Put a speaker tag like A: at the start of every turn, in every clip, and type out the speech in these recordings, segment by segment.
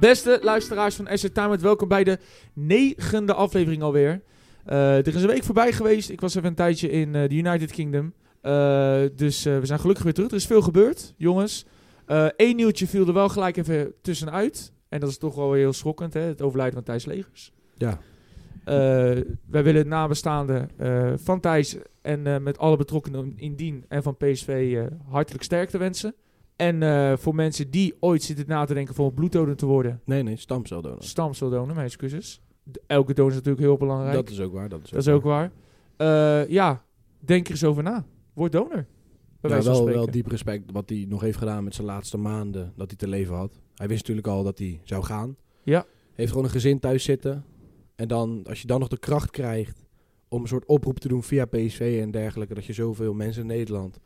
A: Beste luisteraars van Asset Time, welkom bij de negende aflevering alweer. Eh, er is een week voorbij geweest. Ik was even een tijdje in eh, de United Kingdom. Eh, dus eh, we zijn gelukkig weer terug. Er is veel gebeurd, jongens. Eén nieuwtje viel er wel gelijk even tussenuit. En dat is toch wel heel schokkend, hè? het overlijden van Thijs Legers.
B: Ja.
A: Eh, wij willen het nabestaande eh, van Thijs en eh, met alle betrokkenen indien en van PSV eh, hartelijk sterkte wensen. En eh, voor mensen die ooit zitten na te denken voor bloeddonor te worden,
B: Nee, nee, stamceldonor.
A: stamceldonen, mijn excuses. De- Elke donor is natuurlijk heel belangrijk.
B: Dat
A: Dat,
B: is ook waar. Dat is,
A: is ook waar. Eh, ja, denk er eens over na. Word donor. Bij
B: Ja,
A: wijze van
B: Nou, wel,
A: spreken.
B: wel diep respect wat hij nog heeft gedaan met zijn laatste maanden dat hij te leven had. Hij wist natuurlijk al dat hij zou gaan.
A: Ja.
B: Heeft gewoon een gezin thuis zitten. En dan, als je dan nog de kracht krijgt om een soort oproep te doen via PSV en dergelijke, dat je zoveel mensen in Nederland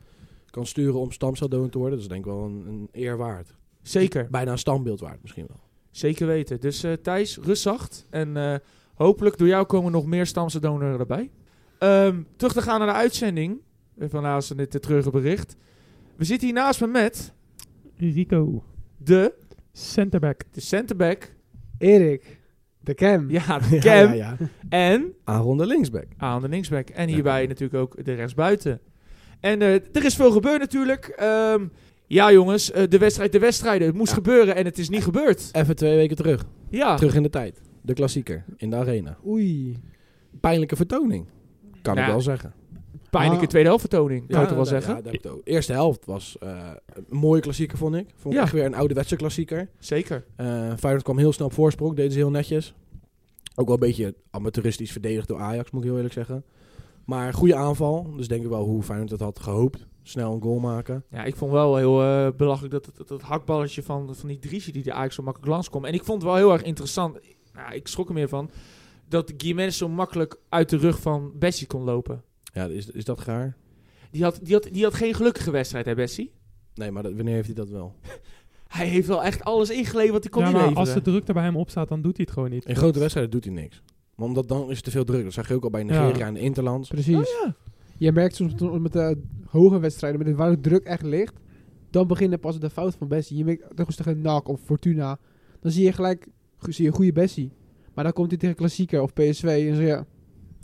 B: kan sturen om stamceldonor te worden, dat is denk ik wel een, een eer waard.
A: Zeker,
B: Bijna een standbeeld waard misschien wel.
A: zeker weten. Dus eh, Thijs, rust zacht. En eh, hopelijk door jou komen nog meer stamceldonoren erbij. Ehm, terug te gaan naar de uitzending. eh, Van naast dit eh, treurige bericht. We zitten hier naast me met
C: Rico.
A: de,
C: Centerback.
A: de centerback.
D: Erik, de Cam.
A: Ja, de
B: Mm. Ja,
A: Cam.
B: ja, ja.
A: En
B: Aaron de linksback.
A: aan de linksback. En hierbij natuurlijk ook de rechtsbuiten. En eh, er is veel gebeurd natuurlijk. Ehm, ja, jongens, eh, de wedstrijd, de wedstrijden. Het moest
B: Ja.
A: gebeuren en het is niet gebeurd.
B: Even twee weken terug.
A: Ja,
B: Terug in de tijd. De klassieker in de arena.
D: Oei.
B: Pijnlijke vertoning. Kan
A: Nou,
B: ik wel zeggen.
A: pijnlijke
D: Ah.
A: tweede helft vertoning, kan je toch wel
B: nou,
A: zeggen?
B: ja, dat heb ik ook. Eerste helft was eh, een mooie klassieker, vond ik. Vond ik
A: Ja.
B: echt weer een ouderwetse klassieker.
A: Zeker.
B: Eh Feyenoord kwam heel snel op voorsprong, deden ze heel netjes. Ook wel een beetje amateuristisch verdedigd door Ajax, moet ik heel eerlijk zeggen. Maar goede aanval, dus denk ik wel hoe Feyenoord dat had gehoopt. Snel een goal maken.
A: Ja, ik vond wel heel eh, belachelijk dat, dat, dat hakballetje van, van die Driesje die er eigenlijk zo makkelijk langskwam. En ik vond het wel heel erg interessant, nou, ik schrok er meer van, dat Gimenez zo makkelijk uit de rug van Bessie kon lopen.
B: Ja, is, is dat gaar?
A: Die had, die, had, die had geen gelukkige wedstrijd, hè Bessie?
B: Nee, maar dat- wanneer heeft hij dat wel?
A: Hij heeft wel echt alles ingeleverd wat hij kon
C: Ja, maar
A: inleveren.
C: als de druk er bij hem op staat, dan doet hij het gewoon niet.
B: In grote wedstrijden doet hij niks. Maar omdat dan is het te veel druk. Dat zag je ook al bij Nigeria
C: Ja.
B: en de Interlands.
D: Precies. Je merkt soms met- met de hoge wedstrijden, met waar de druk echt ligt, dan beginnen pas de fout van Bessie. Je merkt toch eens tegen NAC of Fortuna, dan zie je gelijk zie je een goede Bessie. Maar dan komt hij tegen Klassieker of PSV en zo ja,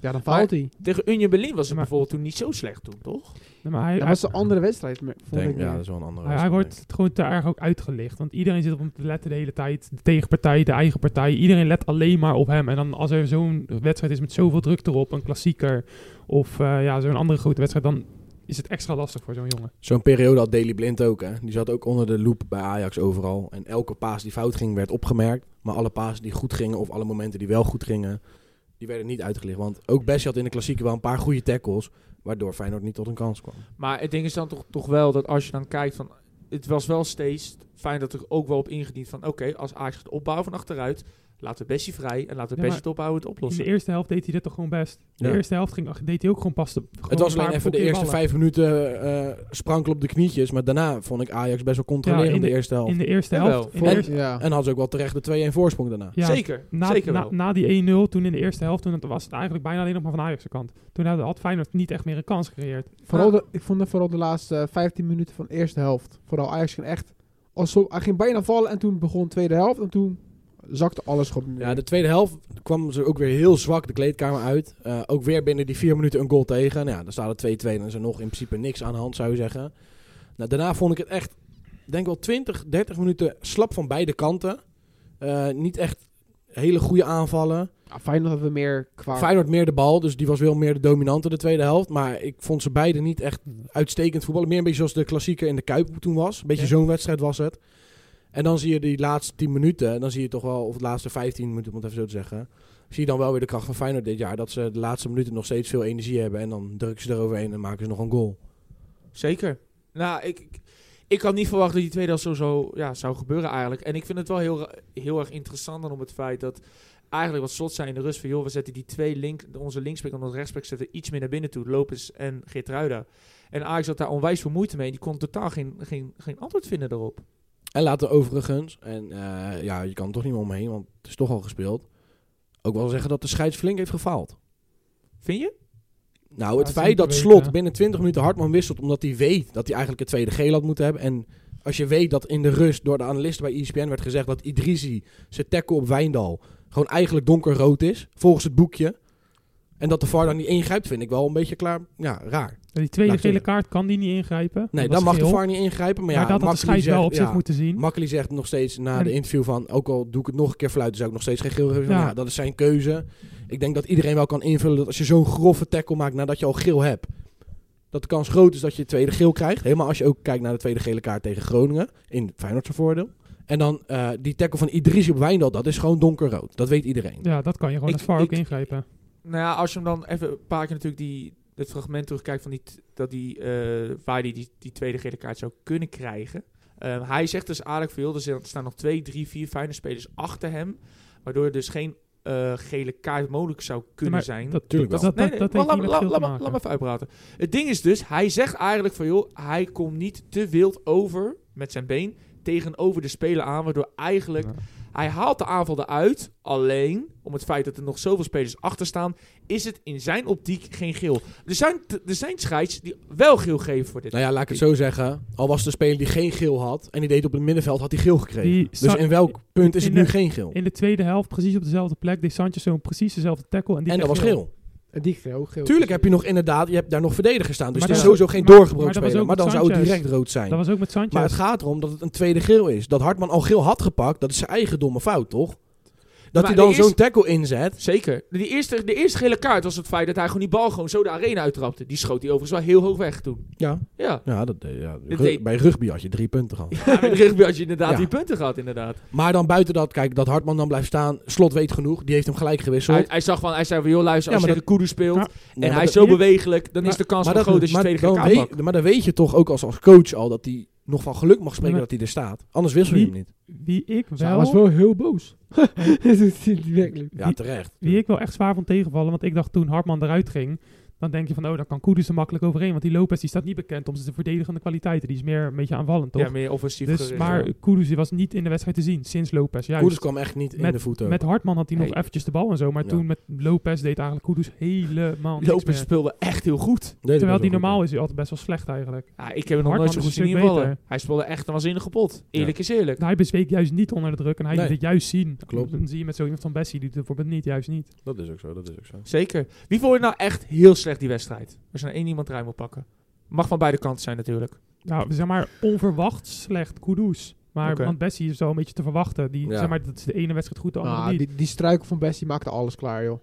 D: ja dan faalt hij.
A: Tegen Union Berlin was het
C: Maar-
A: bijvoorbeeld toen niet zo slecht toen, toch?
C: Nee, maar hij,
D: Dat
C: hij,
D: was een andere wedstrijd, me- vond
B: Denk,
D: ik.
B: ja,
D: meer.
B: dat is wel een andere
C: hij, hij
B: wedstrijd,
C: wordt gewoon te erg ook uitgelicht. Want iedereen zit op hem te letten de hele tijd. De tegenpartij, de eigen partij. Iedereen let alleen maar op hem. En dan als er zo'n wedstrijd is met zoveel druk erop, een klassieker of eh, ja, zo'n andere grote wedstrijd, dan is het extra lastig voor zo'n jongen.
B: Zo'n periode had Daily Blind ook, hè. Die zat ook onder de loep bij Ajax overal. En elke paas die fout ging, werd opgemerkt. Maar alle paas die goed gingen, of alle momenten die wel goed gingen, die werden niet uitgelicht. Want ook Bessie had in de klassieke wel een paar goede tackles, waardoor Feyenoord niet tot een kans kwam.
A: Maar het ding is dan toch, toch wel dat als je dan kijkt van... Het was wel steeds fijn dat er ook wel op ingediend van... Oké, als Ajax gaat opbouwen van achteruit... Laat de Bessie vrij en laat de
C: Ja,
A: Bessie
C: maar
A: het opbouwen het
C: In
A: oplossen.
C: de eerste helft deed hij dit toch gewoon best. De
B: Ja.
C: eerste helft ging, deed hij ook gewoon pas. de- gewoon
B: het was
C: een paar
B: alleen even de
C: goede
B: eerste
C: ballen.
B: vijf minuten eh sprankel op de knietjes. Maar daarna vond ik Ajax best wel controlerend
C: Ja,
B: in
C: in
B: de, eerste helft.
C: In de eerste
A: Jawel,
C: helft. in de
B: vond-
C: eerste-
D: Ja.
B: En had ze ook wel terecht de 2-1 voorsprong daarna.
C: ja,
A: Zeker,
C: Na,
A: zeker
C: na,
A: wel.
C: na die 1-0, toen in de eerste helft, toen het- was het eigenlijk bijna alleen nog maar van Ajax kant. Toen had- had Feyenoord niet echt meer een kans gecreëerd.
D: Vooral de, ik vond het vooral de laatste 15 minuten van de eerste helft. Vooral Ajax ging echt, alsof, hij ging bijna vallen en toen begon de tweede helft en toen zakte alles gewoon neer.
B: Ja, de tweede helft kwam ze ook weer heel zwak de kleedkamer uit. Eh, ook weer binnen die vier minuten een goal tegen. Nou ja, dan staat het 2-2 en dan is er nog in principe niks aan de hand, zou je zeggen. Nou, daarna vond ik het echt, ik denk wel 20, 30 minuten slap van beide kanten. Eh, niet echt hele goede aanvallen.
D: Ja, Ah, Feyenoord hadden we meer kwaad.
B: Feyenoord meer de bal, dus die was wel meer de dominante de tweede helft. Maar ik vond ze beide niet echt uitstekend voetballen. Meer een beetje zoals de klassieker in de Kuip toen was. Een beetje
A: Ja.
B: zo'n wedstrijd was het. En dan zie je die laatste 10 minuten, en dan zie je toch wel, of de laatste 15 minuten, om het even zo te zeggen. Zie je dan wel weer de kracht van Feyenoord dit jaar. Dat ze de laatste minuten nog steeds veel energie hebben. En dan drukken ze eroverheen en maken ze nog een goal.
A: Zeker. Nou, ik, ik, ik had niet verwacht dat die tweede helft zo, zo ja, zou gebeuren eigenlijk. En ik vind het wel heel, ra- heel erg interessant dan om het feit dat... Eigenlijk wat slot zijn in de rust van... joh, we zetten die twee link, onze linksback en onze rechtsback zetten iets meer naar binnen toe. Lopes en Geertruida. En Ajax had daar onwijs veel moeite mee. Die kon totaal geen, geen, geen antwoord vinden daarop.
B: En later overigens, en eh, ja, je kan er toch niet meer omheen, want het is toch al gespeeld. Ook wel zeggen dat de scheids flink heeft gefaald.
A: Vind je?
B: Nou, het
C: Ja, het is
B: feit
C: niet te
B: dat Slot
C: weten.
B: binnen 20 minuten Hartman wisselt omdat hij weet dat hij eigenlijk het tweede geel had moeten hebben en Als je weet dat in de rust door de analisten bij E ESPN werd gezegd dat Idrisi, zijn tackle op Wijndal, gewoon eigenlijk donkerrood is, volgens het boekje. En dat de VAR dan niet ingrijpt, vind ik wel een beetje klaar. Ja, raar.
C: Die tweede
B: Laat
C: gele
B: zeggen.
C: kaart kan die niet ingrijpen.
B: Nee,
C: Dat
B: dan
C: is
B: mag de
C: geel.
B: VAR niet ingrijpen. Maar
C: Maar
B: ja,
C: dat had de
B: Makkely
C: scheids wel
B: zegt-
C: op
B: ja.
C: zich moeten zien.
B: Makkely zegt nog steeds na
C: En-
B: de interview van... ook al doe ik het nog een keer fluiten, zou ik nog steeds geen geel geven.
C: Ja.
B: Ja. dat is zijn keuze. Ik denk dat iedereen wel kan invullen dat als je zo'n grove tackle maakt... nadat je al geel hebt, dat de kans groot is dat je het tweede geel krijgt. Helemaal als je ook kijkt naar de tweede gele kaart tegen Groningen. In Feyenoord zijn voordeel. En dan eh, die tackle van Idrissi op Wijndal, dat is gewoon donkerrood. Dat weet iedereen.
C: Ja, dat kan je gewoon
A: Ik-
C: als VAR ook
A: ik-
C: ingrijpen.
A: Nou ja, als je hem dan even een paar keer natuurlijk die, het fragment terugkijkt van die, t- dat die, eh, waar die, die die tweede gele kaart zou kunnen krijgen. Eh, hij zegt dus aardig veel. Er zijn- er staan nog twee, drie, vier fijne spelers achter hem. Waardoor er dus geen eh, gele kaart mogelijk zou kunnen
C: maar
A: zijn.
C: Dat,
B: Tuurlijk
C: dat,
B: wel.
C: dat, dat,
A: maar
C: dat heeft niet
A: laat,
C: met
A: laat-
C: geel te
A: laat me-
C: maken.
A: laat me even uitpraten. Het ding is dus, hij zegt eigenlijk van joh, hij komt niet te wild over met zijn been tegenover de speler aan, waardoor eigenlijk
C: Ja.
A: hij haalt de aanval eruit. Alleen om het feit dat er nog zoveel spelers achter staan, is het in zijn optiek geen geel. Er zijn, t- er zijn scheids die wel geel geven voor dit.
B: Nou ja, laat ik het zo zeggen. Al was de speler die geen geel had en die deed op het middenveld, had hij geel gekregen.
C: Die
B: dus
C: Sa-
B: in welk punt is
C: in
B: het nu
C: de-
B: geen geel?
C: In de tweede helft, precies op dezelfde plek, deed Sanchez zo'n precies dezelfde tackle. En, die
B: En dat
C: kreeg
B: was geel.
D: En die kreeg ook geel.
B: Tuurlijk heb je nog inderdaad, je hebt daar nog verdedigers staan. Dus
C: Maar
B: het is
C: dat-
B: sowieso geen
C: maar-
B: doorgebroken
C: maar dat was
B: speler. Maar
C: ook
B: dan
C: met
B: zou het
C: Sanchez.
B: direct rood zijn.
C: Dat was ook met Sanchez.
B: maar het gaat erom dat het een tweede geel is. Dat Hartman al geel had gepakt, dat is zijn eigen domme fout, toch? Dat
A: Maar
B: hij
A: de
B: dan
A: eerste-
B: zo'n tackle inzet.
A: Zeker. De eerste, de eerste gele kaart was het feit dat hij gewoon die bal gewoon zo de arena uittrapte. Die schoot hij overigens wel heel hoog weg toen.
B: Ja,
A: Ja,
B: ja, dat, eh, ja
A: Dit
B: ru-
A: deed-
B: bij rugby had je drie punten gehad.
A: ja met de rugby had je inderdaad
B: Ja.
A: die punten gehad inderdaad.
B: Maar dan buiten dat, kijk, dat Hartman dan blijft staan. Slot weet genoeg, die heeft hem gelijk gewisseld.
A: Hij, hij zag van, hij zei van joh luister,
B: Ja,
A: als je
B: maar
A: tegen Kudu speelt
C: Ja,
B: Nee,
A: en
B: maar
A: hij is
B: dat-
A: zo bewegelijk, dan
C: Maar-
A: is de kans
B: maar
A: wel
B: dat-
A: groot dat je
B: maar
A: tweede gele
B: dan
A: kaart pakt.
B: weet, maar dan weet je toch ook als, als coach al dat hij nog van geluk mag spreken
C: Ja.
B: dat hij er staat. Anders wissel je
C: Wie-
B: hem niet.
C: Wie ik
D: Dus hij
C: wel...
D: was wel heel boos. dat is niet werkelijk.
B: Ja, terecht.
C: Wie ik wel echt zwaar van tegenvallen, want ik dacht toen Hartman eruit ging, dan denk je van, oh, dan kan Koeders er makkelijk overheen. Want die Lopez die staat niet bekend om zijn verdedigende kwaliteiten. Die is meer een beetje aanvallend, toch?
A: Ja, meer offensief
C: dus,
A: gericht.
C: maar Koeders was niet in de wedstrijd te zien sinds Lopez. Juist.
B: Koeders kwam echt niet in
C: Met-
B: de voeten.
C: Met Hartman had hij nog
A: Hey.
C: eventjes de bal en zo. Maar
B: Ja.
C: toen met Lopez deed eigenlijk Koeders helemaal niks
A: Lopez
C: meer.
A: speelde echt heel goed.
B: Nee, dat
C: Terwijl
B: was
C: die
B: wel goed.
C: normaal is hij altijd best wel slecht eigenlijk.
A: Ja, ik heb hem nog
C: Hartman
A: nooit zo
C: is
A: goed
C: een
A: zien
C: stuk
A: invallen.
C: beter. Nou.
A: Hij speelde echt een waanzinnige pot. Eerlijk is eerlijk.
C: Hij bezweek juist niet onder de druk en hij
B: Nee.
C: liet het juist zien.
B: Klopt.
C: Dan zie je met zo iemand van Bessie, die doet het bijvoorbeeld niet, juist niet.
B: Dat is ook zo, dat is ook zo.
A: Zeker. Wie vond je nou echt heel slecht die wedstrijd? Als je nou één iemand ruim moet pakken. Mag van beide kanten zijn natuurlijk.
C: Ja, Nou, zeg maar onverwacht slecht Koeders. Maar
A: Oké.
C: want Bessie is wel een beetje te verwachten. Die,
B: Ja.
C: zeg maar, dat is de ene wedstrijd goed, de andere
D: Ah,
C: niet.
D: die, die struikel van Bessie maakte alles klaar, joh.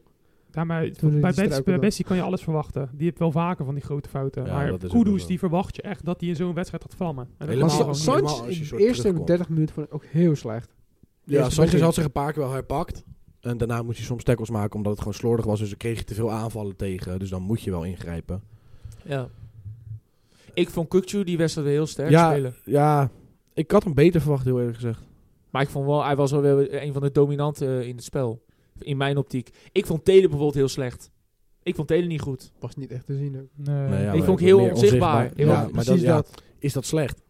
C: Ja, maar
D: Toen die
C: bij, Bets,
D: struikelde.
C: bij Bessie kan je alles verwachten. Die heeft wel vaker van die grote fouten.
B: Ja,
C: maar
B: dat is ook wel
C: Kudus,
B: zo.
C: die verwacht je echt dat hij in zo'n wedstrijd gaat vlammen. En dat
B: Helemaal
D: Maar
C: kan
B: Helemaal
D: Sa-
C: gewoon
B: niet. Helemaal als je
C: niet.
D: Sanchez in de
B: soort
D: eerste
B: terugkomt.
D: 30 minuten vond ik ook heel slecht.
B: Ja,
D: Eerste
B: Sanchez
D: begin.
B: had zich een paar keer wel herpakt. En daarna moest hij soms tackles maken omdat het gewoon slordig was. Dus dan kreeg je te veel aanvallen tegen. Dus dan moet je wel ingrijpen.
A: Ja. Ik vond Kukcu die wedstrijd weer heel sterk
B: Ja.
A: spelen.
B: Ja, ik had hem beter verwacht, heel eerlijk gezegd.
A: Maar ik vond wel, hij was wel weer een van de dominanten eh, in het spel. In mijn optiek. Ik vond Telen bijvoorbeeld heel slecht. Ik vond Telen niet goed.
D: Was niet echt te zien. ook.
C: Nee.
B: Nee, ja,
A: ik
B: maar
A: vond heel
B: meer
A: onzichtbaar. Heel
B: Ja, maar
D: precies
B: dat, ja,
D: dat.
B: is dat slecht?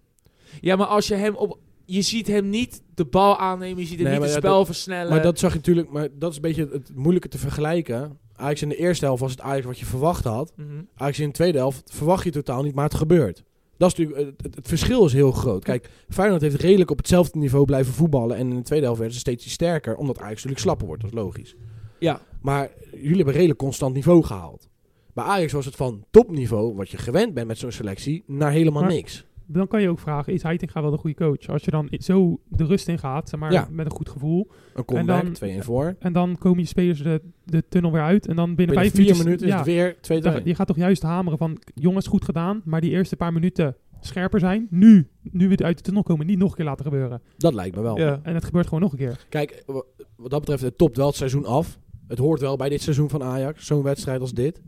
A: Ja, maar als je hem op... Je ziet hem niet de bal aannemen. Je ziet hem
B: Nee,
A: niet
B: maar
A: het
B: ja,
A: spel versnellen.
B: Maar dat zag je natuurlijk, maar dat is een beetje het moeilijke te vergelijken. Ajax in de eerste helft was het Ajax wat je verwacht had.
A: Mhm.
B: Ajax in de tweede helft verwacht je totaal niet, maar het gebeurt. Dat is natuurlijk, het- het, het verschil is heel groot. Kijk, Feyenoord heeft redelijk op hetzelfde niveau blijven voetballen. En in de tweede helft werden ze steeds sterker, omdat Ajax natuurlijk slapper wordt. Dat is logisch.
A: Ja.
B: Maar jullie hebben redelijk constant niveau gehaald. Bij Ajax was het van topniveau, wat je gewend bent met zo'n selectie, naar helemaal
C: Maar-
B: niks.
C: Dan kan je ook vragen, is Heitinga wel een goede coach? Als je dan i- zo de rust in gaat, zeg maar
B: Ja.
C: met een goed gevoel.
B: Een comeback, 2-1
C: dan-
B: voor.
C: En dan komen je spelers de, de tunnel weer uit. En dan binnen
B: Binnen
C: vijf
B: vier minuten is
C: ja,
B: het weer 2-1.
C: dan- Je gaat toch juist hameren van, jongens, goed gedaan. Maar die eerste paar minuten scherper zijn. Nu, nu we uit de tunnel komen, niet nog een keer laten gebeuren.
B: Dat lijkt me wel.
A: Ja.
C: En het gebeurt gewoon nog een keer.
B: Kijk, eh, wa- wat dat betreft, het topt wel het seizoen af. Het hoort wel bij dit seizoen van Ajax, zo'n wedstrijd als dit.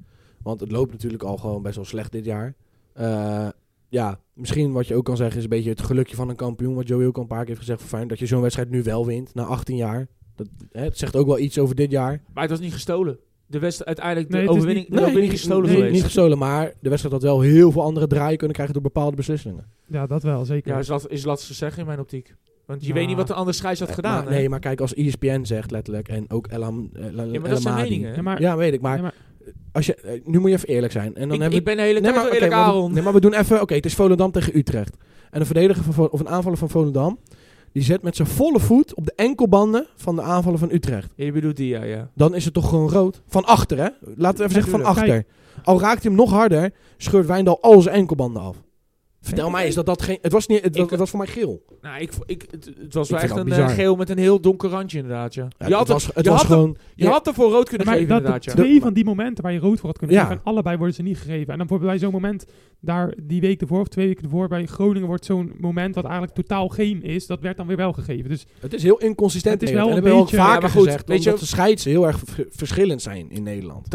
B: Want het loopt natuurlijk al gewoon best wel slecht dit jaar. Eh, ja, misschien wat je ook kan zeggen is een beetje het gelukje van een kampioen. Wat Joey ook al een paar keer heeft gezegd voor Feyenoord. Dat je zo'n wedstrijd nu wel wint, na 18 jaar. Dat, hè, het zegt ook wel iets over dit jaar.
A: Maar het was niet gestolen. De wedst- uiteindelijk de
C: Nee, het is
A: overwinning,
C: niet-
A: de
B: Nee,
A: overwinning
B: niet-
A: gestolen
B: nee,
A: geweest.
B: Niet gestolen, maar de wedstrijd had wel heel veel andere draaien kunnen krijgen door bepaalde beslissingen.
C: Ja, dat wel, zeker.
A: Ja, is, lat, is lastig te zeggen in mijn optiek. Want je
C: Ja.
A: weet niet wat de andere scheids had gedaan.
B: Nou, eh, Maar-
A: hè?
B: nee, maar kijk, als E ESPN zegt letterlijk en ook Elam. eh, La-
A: ja, maar dat zijn
B: Elamadi.
A: meningen. hè?
C: Ja, maar,
B: dus- Ja, weet ik, maar
C: ja, maar-
B: als je, eh, nu moet je even eerlijk zijn. En dan
A: ik,
B: hebben
A: ik ben de hele
B: Nee,
A: tijd
B: maar,
A: wel
B: oké,
A: eerlijk
B: maar we-
A: Aaron.
B: nee, maar we doen even. Oké, het is Volendam tegen Utrecht. En En een verdediger van, Vo- of een aanvaller van Volendam. Die zet met zijn volle voet op de enkelbanden van de aanvaller van Utrecht.
A: Je bedoelt die, ja, ja.
B: Dan is het toch gewoon rood. Van achter, hè? Laten we even zeggen van
C: tuurlijk.
B: achter. Al raakt hij hem nog harder, scheurt Wijndal al zijn enkelbanden af. Vertel mij eens dat dat geen... Het was, niet, het,
A: Ik-
B: was- het was voor mij geel.
A: Nou, ik, vo- ik, het, het was
B: Ik
A: wel
B: vind
A: echt
B: dat
A: een eh,
B: bizar.
A: geel met een heel donker randje, inderdaad, ja.
B: Ja,
A: je had,
B: het was, het
A: je
B: was
A: had hem-
B: gewoon...
A: je had ervoor rood kunnen
C: Maar
A: geven,
C: dat
A: inderdaad,
C: de
A: ja.
C: twee van die momenten waar je rood voor had kunnen
B: Ja.
C: geven, en allebei worden ze niet gegeven. En dan wordt bij zo'n moment, daar die week ervoor of twee weken ervoor, bij Groningen wordt zo'n moment wat eigenlijk totaal geen is, dat werd dan weer wel gegeven. Dus
B: Het is heel inconsistent.
C: Het is
B: Nederland.
C: wel
B: en
C: een
B: dat hebben we
C: beetje-
B: al
A: Ja,
B: vaker
A: maar goed,
B: gezegd.
A: weet je-
B: omdat de scheidsen heel erg v- verschillend zijn in Nederland.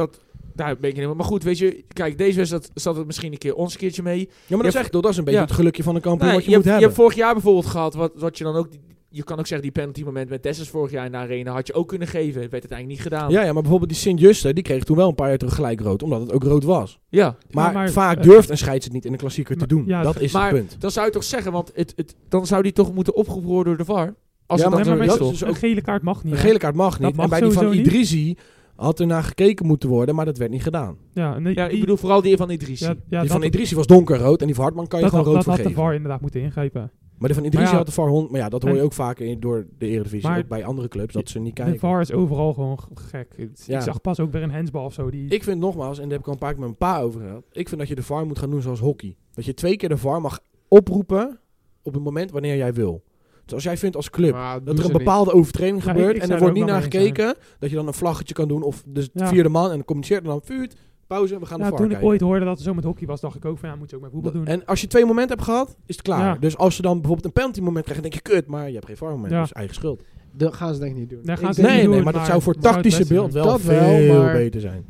A: Daar ben ik niet Maar goed, weet je, kijk, deze wedstrijd zat het misschien een keer ons een keertje mee.
B: Ja, maar
A: Je
B: dat, zeg, ik toch, dat is een beetje
A: ja.
B: het gelukje van een kampioen
A: Nee,
B: wat je,
A: je,
B: moet
A: hebt, je
B: hebben.
A: hebt vorig jaar bijvoorbeeld gehad, wat, wat je dan ook... Je kan ook zeggen, die penalty moment met Dessers vorig jaar in de arena had je ook kunnen geven. Werd het eigenlijk niet
C: Oh.
A: gedaan.
B: ja, ja, maar bijvoorbeeld die Sint-Juste, die kreeg toen wel een paar jaar terug gelijk rood. Omdat het ook rood was.
A: ja.
B: Maar,
C: maar,
B: vaak
C: eh,
B: durft een scheids het niet in een klassieker
C: maar-
B: te doen.
C: ja,
B: dat
C: het-
B: is
A: maar-
B: het punt.
A: Dan zou je toch zeggen, want het, het, dan zou die toch moeten opgeroepen worden door de VAR. Als
B: Ja,
A: het
C: Nee,
A: dan
C: maar
A: zo
B: dat
A: is,
C: mensen-
A: toch?
B: is
C: een
B: Dus ook-
C: gele kaart mag niet.
B: Een
C: hè?
B: gele kaart mag niet.
C: mag
B: en bij die van
C: sowieso niet.
B: Idrisi had er naar gekeken moeten worden, maar dat werd niet gedaan.
C: Ja, en die-
A: Ja, ik
C: die-
A: bedoel vooral die van Idrissi.
C: ja, ja,
B: die
C: dat-
B: van Idrisi was donkerrood en die van Hartman kan je
C: dat,
B: gewoon
C: had-
B: rood
C: dat had de
B: vergeven.
C: VAR inderdaad moeten ingrijpen.
B: Maar die van Idrisi
C: Maar ja.
B: had de VAR hond. Maar ja, dat hoor je
C: En-
B: ook vaak in- door de Eredivisie.
C: Maar-
B: ook bij andere clubs, dat ze niet
C: De
B: kijken.
C: VAR is overal gewoon g- gek. Het-
B: Ja.
C: Ik zag pas ook weer een handsbal of zo. Die,
B: Ik vind nogmaals, en daar heb ik al een paar keer met mijn pa over gehad. Ik vind dat je de VAR moet gaan doen zoals hockey. Dat je twee keer de VAR mag oproepen op het moment wanneer jij wil. Dus als jij vindt als club dat er een bepaalde overtreding
C: Ja, ik-
B: gebeurt
C: ik
B: en
C: zou
B: er
C: er
B: wordt niet
C: ook wel
B: naar
C: mee eens
B: gekeken, dat je dan een vlaggetje kan doen of de
C: Ja.
B: vierde man en dan communiceert en dan vuurt, pauze, we gaan
C: ja,
B: de
C: toen
B: VAR
C: ik
B: kijken.
C: ooit hoorde dat het zo met hockey was, dacht ik ook van ja, moet je ook met voetbal doen.
B: En als je twee momenten hebt gehad, is het klaar.
C: Ja.
B: Dus als ze dan bijvoorbeeld een penalty moment krijgen, dan denk je kut, maar je hebt geen VAR moment,
C: Ja.
B: dus eigen schuld.
D: Dat gaan ze denk ik niet doen.
C: Daar
D: Ik
C: gaan ze
D: denk-
B: Nee,
C: niet
B: nee,
C: doen,
B: maar, dat
C: maar
B: zou voor
C: het zou het
B: tactische
C: beste
B: beeld
C: zijn.
B: wel
D: Dat wel,
B: veel
D: maar-
B: beter zijn.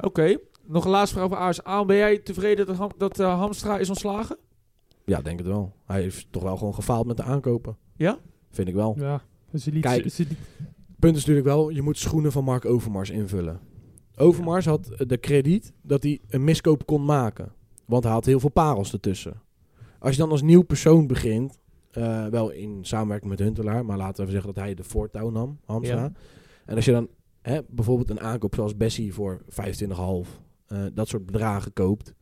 A: Oké. Nog een laatste vraag over AS Aan. Ben jij tevreden dat, Ham- dat eh, Hamstra is ontslagen?
B: Ja, denk het wel. Hij heeft toch wel gewoon gefaald met de aankopen.
A: Ja?
B: Vind ik wel.
C: ja, dus ze liet,
B: Kijk.
C: ze- ze liet-
B: punt is natuurlijk wel, je moet schoenen van Mark Overmars invullen. Overmars had eh, de krediet dat hij een miskoop kon maken. Want hij had heel veel parels ertussen. Als je dan als nieuw persoon begint, eh, wel in samenwerking met Huntelaar, maar laten we even zeggen dat hij de voortouw nam, Hamstra.
A: Ja.
B: En als je dan hè, bijvoorbeeld een aankoop zoals Bessie voor 25,5, eh dat soort bedragen koopt,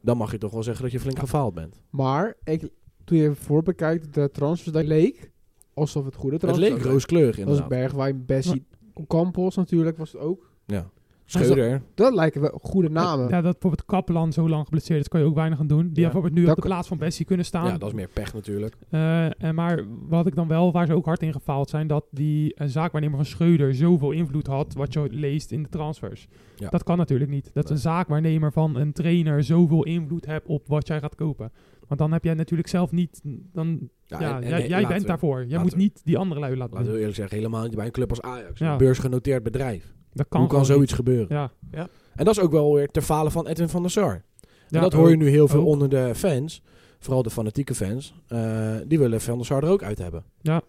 B: dan mag je toch wel zeggen dat je flink gefaald bent.
D: Maar ik, toen je voor bekijkt de transfers, dat leek alsof het goede
B: Het
D: transfers
B: leek
D: waren.
B: rooskleurig
D: Dat was
B: inderdaad.
D: Bergwijn, Bessie, Campos natuurlijk was het ook.
B: Ja. Scheuder.
D: Dat lijken wel goede namen.
C: ja, dat bijvoorbeeld Kaplan zo lang geblesseerd is, kan je ook weinig aan doen. Die had bijvoorbeeld nu
D: Dat
C: op de
D: kan-
C: plaats van Bessie kunnen staan.
B: Ja, dat is meer pech natuurlijk.
C: Eh, en maar wat ik dan wel, waar ze ook hard in gefaald zijn, dat die eh, zaakwaarnemer van Schreuder zoveel invloed had, wat je leest in de transfers.
B: Ja.
C: Dat kan natuurlijk niet. Dat
B: Nee.
C: een zaakwaarnemer van een trainer zoveel invloed hebt op wat jij gaat kopen. Want dan heb jij natuurlijk zelf niet, dan, ja,
B: en- en-
C: jij, jij
B: laten
C: bent
B: we-
C: daarvoor. Jij
B: laten
C: moet
B: we-
C: niet die andere lui laten
B: Laten we
C: doen.
B: eerlijk zeggen, helemaal niet bij een club als Ajax.
C: Ja.
B: Een beursgenoteerd bedrijf.
C: Dat
B: Hoe kan
C: gewoon
B: zoiets gebeuren?
C: niet. Ja.
B: En dat is ook wel weer ter falen van Edwin van der Sar.
C: Ja,
B: en dat hoor je nu heel veel
C: ook.
B: onder de fans. Vooral de fanatieke fans. eh, die willen van der Sar er ook uit hebben.
C: Ja,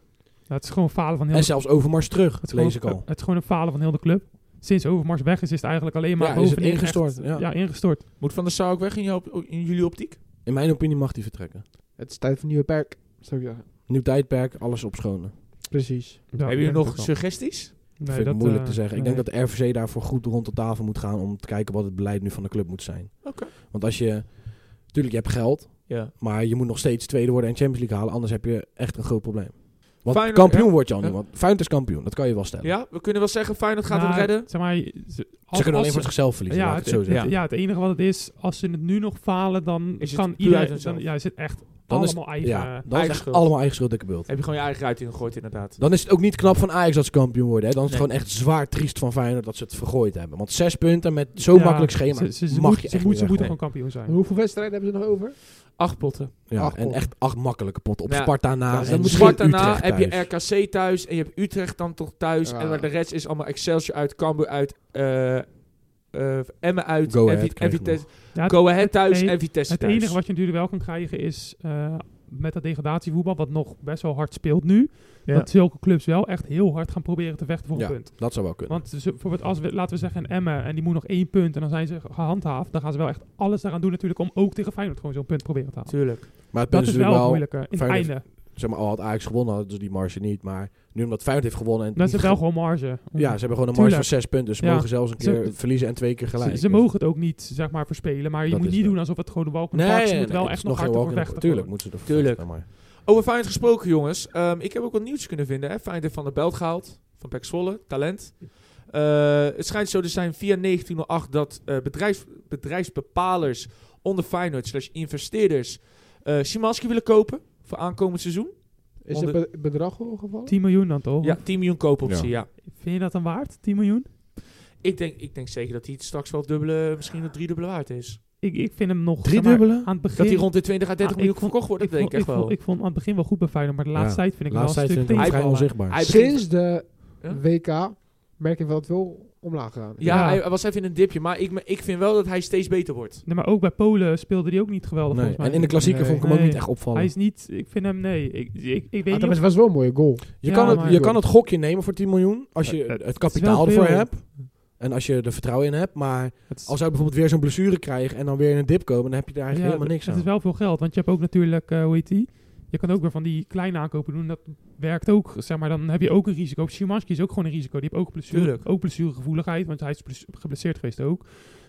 C: het is gewoon falen van heel
B: En zelfs Overmars terug,
C: Het is,
B: lees ik
C: gewoon,
B: al.
C: het is gewoon een falen van heel de club. Sinds Overmars weg is, is het eigenlijk alleen maar
B: Ja, is het
C: bovenin echt-
B: ingestort, ja.
C: ingestort.
A: Moet Van der Sar ook weg in, jou, in jullie optiek?
B: In mijn opinie mag hij vertrekken.
D: Het is tijd voor een nieuwe perk, zou ik zeggen.
B: Nieuw tijdperk, alles opschonen.
D: Precies.
C: Ja,
A: Hebben jullie
C: denk
A: nog
C: ik ook
A: suggesties?
C: wel.
B: Dat
C: Nee,
B: vind ik moeilijk
C: eh,
B: te zeggen. Ik
C: nee.
B: denk dat de RVC daarvoor goed rond de tafel moet gaan om te kijken wat het beleid nu van de club moet zijn.
A: Oké.
B: Want als je... Tuurlijk, je hebt geld.
A: Ja.
B: Maar je moet nog steeds tweede worden en Champions League halen. Anders heb je echt een groot probleem. Want
A: Feyenoord-
B: kampioen
A: ja.
B: word je al niet.
A: Ja.
B: Want Feyenoord is kampioen. Dat kan je wel stellen.
A: ja, we kunnen wel zeggen, Feyenoord gaat
C: Nou,
A: het redden.
C: Zeg maar, ze, als-
B: Ze kunnen
C: als
B: alleen voor zichzelf verliezen.
C: ja,
B: laat ik het zo
C: het,
B: zeggen.
C: ja, het enige wat het is, als ze het nu nog falen, dan
A: Is het
C: kan
A: puur uit
C: iedereen...
A: hunzelf.
C: Dan, ja, is het echt
B: Dan is-
C: allemaal eigen...
B: Ja, dat is
A: eigen
B: echt
A: schuld.
B: allemaal eigen schuld, dikke beeld.
A: Heb je gewoon je eigen ruit ingegooid, inderdaad.
B: Dan is het ook niet knap van Ajax dat ze kampioen worden. Hè? Dan is het
A: Nee.
B: gewoon echt zwaar triest van Feyenoord dat ze het vergooid hebben. Want zes punten met zo'n
C: ja,
B: makkelijk schema
C: ze- ze- ze
B: mag
C: moet-
B: je
C: Ze,
B: echt
C: moet,
B: niet
C: ze moeten
B: wegnemen.
C: gewoon kampioen zijn.
D: Hoeveel wedstrijden hebben ze nog over?
A: Acht potten.
B: Ja,
D: Acht
B: en
D: potten.
B: echt acht makkelijke potten. Op
A: Ja.
B: Sparta na
A: dus dan
B: en
A: moet
B: misschien
A: Sparta na,
B: Utrecht
A: heb je
B: thuis.
A: RKC thuis en je hebt Utrecht dan toch thuis.
D: Ja.
A: En maar de rest is allemaal Excelsior uit, Cambuur uit, eh, eh, Emmen uit,
B: Go
A: en,
B: Ahead
A: Vi- en
B: krijg je
A: Vitesse.
C: Ja, het-
A: Go Ahead thuis
C: het-
A: en Vitesse
C: Het
A: thuis.
C: enige wat je natuurlijk wel kan krijgen is eh, met dat degradatievoetbal, wat nog best wel hard speelt nu,
A: Ja.
C: dat zulke clubs wel echt heel hard gaan proberen te vechten voor
B: Ja.
C: een punt.
B: Dat zou wel kunnen.
C: Want ze- bijvoorbeeld als we, laten we zeggen een Emmen en die moet nog één punt en dan zijn ze gehandhaafd, dan gaan ze wel echt alles daaraan doen natuurlijk om ook tegen Feyenoord gewoon zo'n punt proberen te halen.
A: Tuurlijk.
B: maar het punt
C: Dat is
B: is
C: wel het
B: natuurlijk wel...
C: moeilijke. In het
B: Dus Feyenoord-
C: einde.
B: zeg maar, al had Ajax gewonnen, hadden ze die marge niet. Maar nu omdat Feyenoord heeft gewonnen... En
C: Dat
B: niet
C: is wel gewoon marge. Om-
B: Ja, ze hebben gewoon een
C: Tuurlijk.
B: marge van zes punten. Dus ze
C: Ja.
B: mogen zelfs een
C: Ze-
B: keer verliezen en twee keer gelijk.
C: Ze, ze
B: Dus-
C: mogen het ook niet, zeg maar, verspelen. Maar je
B: Dat
C: moet
B: is
C: niet
B: het.
C: doen alsof het gewoon de walk in the
B: Nee,
C: park
B: nee,
C: is. Je
B: nee,
C: moet wel
B: nee, het
C: echt
B: is
C: nog
B: geen
C: hard
B: walk
C: voor
B: in the park.
C: vechten.
B: Tuurlijk
C: gewoon.
B: moeten ze er
A: Tuurlijk.
B: vechten, maar-
A: Over Feyenoord gesproken, jongens. Ehm, ik heb ook wat nieuws kunnen vinden. Hè. Feyenoord heeft Van der Belt gehaald. Van Pek Zwolle. Talent. Eh, het schijnt zo te zijn via 1908 dat eh, bedrijf, bedrijfsbepalers onder Feyenoord slash investeerders eh Szymanski willen kopen voor aankomend seizoen.
D: Is er be- bedrag gevallen?
C: 10 miljoen dan toch?
A: Ja, 10 miljoen koopoptie, ja.
C: Vind je dat dan waard? 10 miljoen?
A: Ik, denk, ik denk zeker dat hij het straks wel het dubbele, misschien het driedubbele waard is.
C: Ik, ik vind hem nog
B: Drie
C: zeg maar,
B: dubbele?
C: aan het begin.
A: Dat hij rond de 20 à 30
C: Ah, ik
A: miljoen
C: vond-
A: verkocht wordt,
C: ik
A: dat denk ik
C: vond,
A: echt
C: ik, vond,
A: wel.
C: ik vond aan het begin wel goed bij Feyenoord, maar de
B: Ja.
C: laatste tijd vind ik hem wel
B: Laatste
C: een
B: tijd
C: stuk
B: vind ik hem
C: tegen.
B: vrij
A: tegenvallen.
B: onzichtbaar.
A: Hij begint-
D: Sinds de
A: Ja.
D: WK merk ik wel dat het wel omlaag gegaan is.
A: ja,
C: Ja.
A: hij hij was even in een dipje, maar ik, me- ik vind wel dat hij steeds beter wordt.
C: Nee, maar ook bij Polen speelde hij ook niet geweldig
B: Nee,
C: volgens mij.
B: En in de klassieker
D: Nee.
B: vond ik hem ook
C: Nee.
B: niet echt opvallen.
C: Hij is niet, ik vind hem, nee. Ik, ik, ik weet
D: Ah,
C: niet.
D: dat was wel een mooie goal.
B: Je,
C: Ja,
B: kan
C: maar-
B: het, je kan het gokje nemen voor 10 miljoen als je
C: Eh, eh,
B: het
C: is wel
B: kapitaal ervoor
C: veel.
B: hebt. En als je er vertrouwen in hebt. Maar
C: of- het is-
B: als hij bijvoorbeeld weer zo'n blessure krijgt en dan weer in een dip komen, dan heb je daar eigenlijk
C: ja,
B: helemaal niks
C: het
B: aan.
C: is wel veel geld, want je hebt ook natuurlijk, eh, hoe heet die? Je kan ook weer van die kleine aankopen doen. Dat werkt ook, zeg maar. Dan heb je ook een risico. Szymanski is ook gewoon een risico. Die heeft ook blessure,
A: Tuurlijk.
C: ook blessuregevoeligheid, want hij is bless- geblesseerd geweest ook.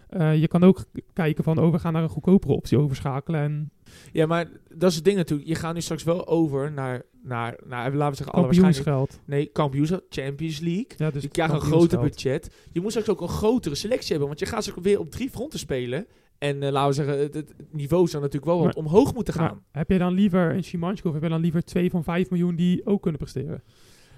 C: Eh, je kan ook k- kijken van, oh, we gaan naar een goedkopere optie overschakelen. En
A: Ja, maar dat is het ding natuurlijk. Je gaat nu straks wel over naar, naar, naar laten we zeggen, alle waarschijnlijk.
C: kampioensgeld.
A: Nee, kampioenschap, Champions League.
C: Ja, dus
A: je krijgt een groter
C: kampioensgeld.
A: budget. Je moet straks ook een grotere selectie hebben, want je gaat straks weer op drie fronten spelen. En eh, laten we zeggen, het, het niveau zou natuurlijk wel wat omhoog moeten
C: Maar
A: gaan.
C: Nou, heb je dan liever een Szymanski of heb je dan liever twee van vijf miljoen die ook kunnen presteren?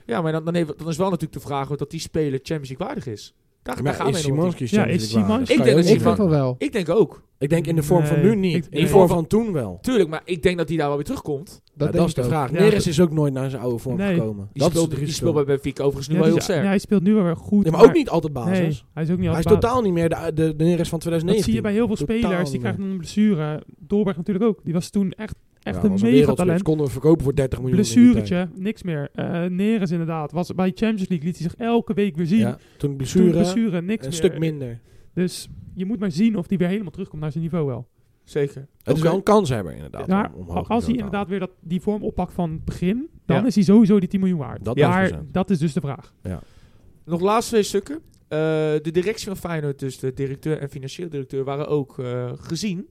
A: ja, maar dan, dan, heeft, dan is wel natuurlijk de vraag dat die speler Champions League waardig is. Daar, daar
B: Maar
A: gaan
B: is
A: we nog
B: Simanski
C: Ja,
B: Champions
C: is
B: League waardig?
C: Szymanski-
A: Ik denk
B: Kan je
A: dat Szymanski- van-
B: ook niet
D: Ik vind van
B: zeggen.
D: wel.
A: Ik denk ook.
B: Ik denk in de vorm van
C: Nee,
B: nu niet.
C: ik-
B: In de
C: nee.
B: vorm van toen wel.
A: Tuurlijk, maar ik denk dat hij daar wel weer terugkomt.
B: Ja,
D: Dat,
B: dat is
D: is
B: de vraag.
C: Ja.
B: Neres is ook nooit naar zijn oude vorm
C: Nee.
B: gekomen.
A: Die
B: dat
A: speelt,
B: is het
A: die
B: risico.
A: speelt bij Benfica overigens nu
C: Ja,
A: wel
C: die
A: heel
C: is-
A: sterk.
C: ja, hij speelt nu wel weer goed.
B: Ja, maar ook niet altijd basis.
C: Nee, hij is ook niet
B: Hij is
C: als baas.
B: totaal niet meer de, de, de Neres van
C: Dat
B: 2019.
C: zie je bij heel veel
B: Totaal
C: spelers. Die
B: niet
C: krijgen een blessure. Dolberg natuurlijk ook. Die was toen echt, echt
B: Ja,
C: een
B: was
C: mega
B: wereldspits.
C: talent.
B: Konden we verkopen voor 30 miljoen. in die tijd.
C: Blessuretje, niks meer. Eh Neres inderdaad. Was bij Champions League liet hij zich elke week weer zien.
B: Ja, toen
C: Toen
B: blessure.
C: blessure, niks
B: Een
C: meer.
B: stuk minder.
C: Dus je moet maar zien of hij weer helemaal terugkomt naar zijn niveau wel.
A: Zeker.
B: Het is
A: Oké.
B: wel een kanshebber inderdaad.
C: Maar
B: om omhoog
C: als hij
B: te gaan.
C: inderdaad weer dat, die vorm oppakt van het begin, dan
A: Ja.
C: is hij sowieso die 10 miljoen waard.
B: Dat
C: maar
B: 10%.
C: dat is dus de vraag.
A: Nog laatste twee stukken. Eh, de directie van Feyenoord, dus de directeur en financieel directeur, waren ook eh, gezien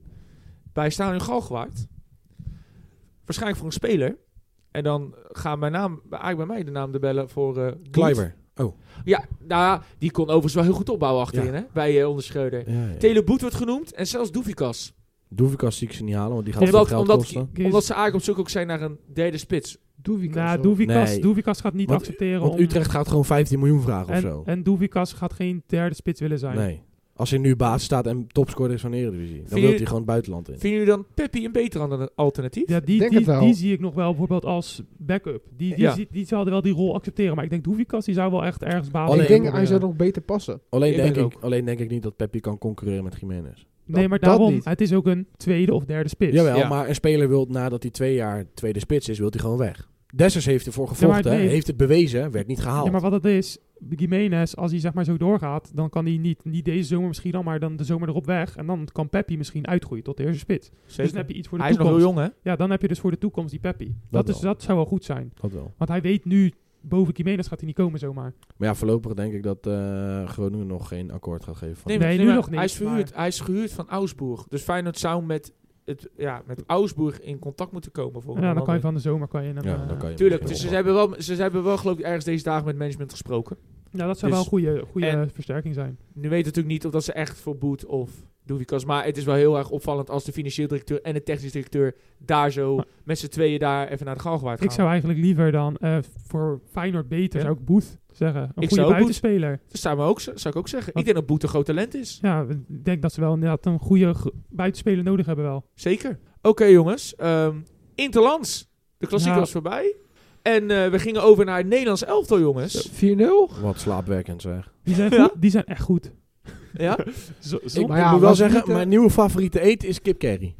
A: bij Stadion Galgenwaard. Waarschijnlijk voor een speler. En dan gaan mijn naam, eigenlijk bij mij de naam de bellen voor... eh, Boet.
B: Kleiber.
A: Ja, nou, ja, die kon overigens wel heel goed opbouwen achterin,
B: Ja.
A: hè, bij eh onder Schreuder.
B: Ja, ja.
A: Tele Boet wordt genoemd en zelfs Doefikas.
B: Doevikas zie ik ze niet halen, want die gaat veel
A: Omdat,
B: geld
A: omdat,
B: kosten.
A: omdat ze eigenlijk op zoek ook zijn naar een derde spits.
D: Doevikas.
C: Nou,
D: wel.
C: Doevikas,
B: Nee.
C: Doevikas gaat niet
B: Want-
C: accepteren
B: Want
C: om...
B: Utrecht gaat gewoon 15 miljoen vragen of
C: en,
B: zo.
C: en Doevikas gaat geen derde spits willen zijn.
B: Nee. Als hij nu baas staat en topscorer is van de Eredivisie, dan
A: Vind je-
B: wil hij gewoon het buitenland in.
A: Vinden jullie dan Peppi een beter an- alternatief?
C: Ja, die,
D: denk
C: die,
D: het wel.
C: die zie ik nog wel bijvoorbeeld als backup. Die, die,
A: Ja.
C: zie- die zouden wel die rol accepteren. Maar ik denk Doevikas, die zou wel echt ergens baas
B: Alleen-
D: ik denk, hij
C: proberen.
D: zou nog beter passen.
B: Alleen
A: Ik denk
B: denk, ik, alleen denk ik niet dat Peppi kan concurreren met Jiménez.
C: Nee,
D: dat-
C: maar
D: dat
C: daarom,
D: niet.
C: het is ook een tweede of derde spits.
B: Jawel,
A: Ja.
B: maar een speler wil nadat hij twee jaar tweede spits is, wil hij gewoon weg. Dessers heeft ervoor
C: maar
B: gevochten,
C: nee.
B: heeft het bewezen, werd niet gehaald.
C: Ja, maar wat het is, Jiménez, als hij zeg maar zo doorgaat, dan kan hij niet, niet deze zomer misschien al, maar dan de zomer erop weg. En dan kan Peppi misschien uitgroeien tot de eerste spits. Dus dan heb je iets voor de
A: Hij is nog
C: toekomst.
A: heel jong, hè?
C: Ja, dan heb je dus voor de toekomst die Peppi. Dat, is,
B: wel.
C: dat zou wel goed zijn.
B: Dat wel.
C: Want hij weet nu, boven Jiménez gaat hij niet komen zomaar.
B: Maar ja, voorlopig denk ik dat eh, Groningen nog geen akkoord gaat geven. Van
C: Nee, maar- nu nog niet,
A: Hij is, verhuurd,
C: maar-
A: hij is gehuurd van Augsburg. Dus Feyenoord zou met, het, ja, met Augsburg in contact moeten komen. Voor
C: Ja, dan kan je van de zomer kan je hem...
B: ja,
C: eh,
B: dan kan je
A: Tuurlijk,
B: misschien
A: dus ze
B: wel.
A: hebben, wel, ze hebben wel geloof ik ergens deze dagen met management gesproken.
C: ja, dat zou
A: Dus-
C: wel een goede
A: en-
C: versterking zijn.
A: Nu weet het natuurlijk niet of dat ze echt voor Boet of Doevikas. Maar het is wel heel erg opvallend als de financieel directeur en de technisch directeur daar zo
C: Maar-
A: met z'n tweeën daar even naar de galgenwaard gaan.
C: Ik zou eigenlijk liever dan eh, voor Feyenoord beter,
A: Ja.
C: zou ik Boet zeggen. Een
A: Ik zou
C: goede
A: ook Boet-
C: buitenspeler.
A: Dat zou, me ook, zou ik ook zeggen.
C: Want-
A: Ik denk dat Boet een groot talent is.
C: Ja, ik denk dat ze wel inderdaad een goede ge- buitenspeler nodig hebben wel.
A: Zeker. Oké jongens, ehm, Interlands. De klassieker
C: Ja.
A: was voorbij. En eh, we gingen over naar het Nederlands elftal, jongens.
D: 4-0?
B: Wat slaapwerkend zeg.
C: Die zijn,
A: Ja.
C: goed, die zijn echt goed.
A: Ja?
C: Zo- zo-
B: Ik,
D: Maar ja,
B: moet wel
D: was
B: zeggen,
D: niet, eh,
B: mijn nieuwe favoriete eten is kip curry.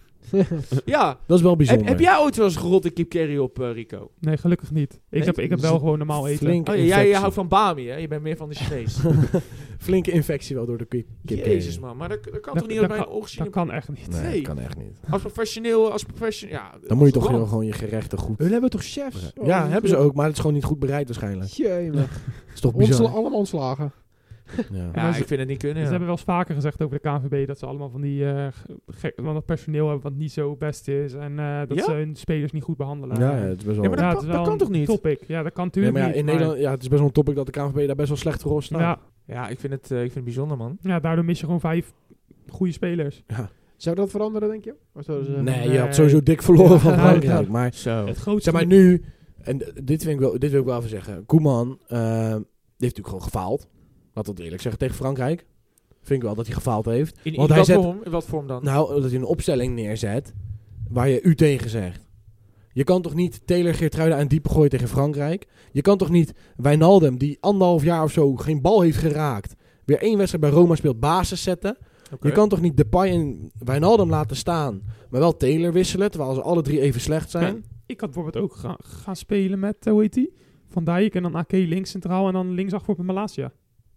A: ja.
B: Dat is wel
A: Heb,
B: bijzonder.
A: heb jij ooit wel eens gerotte kip curry op, eh, Rico?
C: Nee, gelukkig niet. Ik,
B: Nee,
C: heb, ik heb
B: dus
C: wel gewoon normaal eten.
B: Flink
A: Oh, ja,
B: infectie.
A: jij, jij houdt van Bami, hè? Je bent meer van de Chinees.
B: Flinke infectie wel door de kip. kip-
A: Jezus, man. Maar dat, dat kan
C: Dat-
A: toch niet
C: dat
A: uit mijn
C: kan-
A: ogen
C: Dat
A: zien?
C: kan echt niet.
B: Nee,
A: Nee.
B: dat kan echt niet.
A: Als professioneel, als professioneel... Ja,
B: Dan moet je
A: als
B: toch
A: land.
B: wel gewoon je gerechten goed...
D: Hun hebben toch chefs?
B: bereiden. Ja, hebben ze ook, maar het is gewoon niet goed bereid waarschijnlijk.
D: Jee, man.
B: Dat is toch
D: Ontsla-
B: bizar.
D: allemaal ontslagen.
B: Ja.
A: Ja, ik vind het niet kunnen,
C: Ze
A: ja.
C: hebben wel eens vaker gezegd over de KNVB dat ze allemaal van die eh, ge- gek, van dat personeel hebben wat niet zo best is. En eh, dat
A: Ja?
C: ze hun spelers niet goed behandelen.
B: Ja, ja, het is best wel...
A: Ja, maar dat,
C: Ja,
A: kan-
C: het is
A: dat
C: wel
A: kan
C: een
A: toch niet?
C: Topic. Ja, dat kan
B: Nee,
C: natuurlijk
B: maar ja,
C: niet,
B: in Nederland, Oh. ja, het is best wel een topic dat de KNVB daar best wel slecht voor staat.
C: Ja,
A: Ja, ik vind het, eh, ik vind het bijzonder, man.
C: ja, daardoor mis je gewoon vijf goede spelers.
D: Zou dat veranderen, denk je? Hm. Of zouden ze-
B: Nee, je
C: Nee.
B: had sowieso dik verloren
C: Ja,
B: van
C: ja,
B: Frankrijk.
C: ja.
B: Maar
A: Zo.
C: Het grootste...
B: zeg maar nu, en d- dit, vind ik wel, dit wil ik wel even zeggen. Koeman eh, die heeft natuurlijk gewoon gefaald. Laat dat eerlijk zeggen tegen Frankrijk. Vind ik wel dat hij gefaald heeft.
A: In, in
B: Want
A: wat
B: hij zet-
A: vorm? In wat vorm dan?
B: Nou, dat hij een opstelling neerzet waar je u tegen zegt. Je kan toch niet Taylor Geertruiden aan diepe gooien tegen Frankrijk? Je kan toch niet Wijnaldum, die anderhalf jaar of zo geen bal heeft geraakt... weer één wedstrijd bij Roma speelt, basis zetten?
A: Oké.
B: Je kan toch niet Depay en Wijnaldum laten staan, maar wel Taylor wisselen, terwijl ze alle drie even slecht zijn?
C: Ja, ik had bijvoorbeeld ook ga- gaan spelen met, eh, hoe heet die? Van Dijk en dan AK links centraal en dan linksachter met Malasia.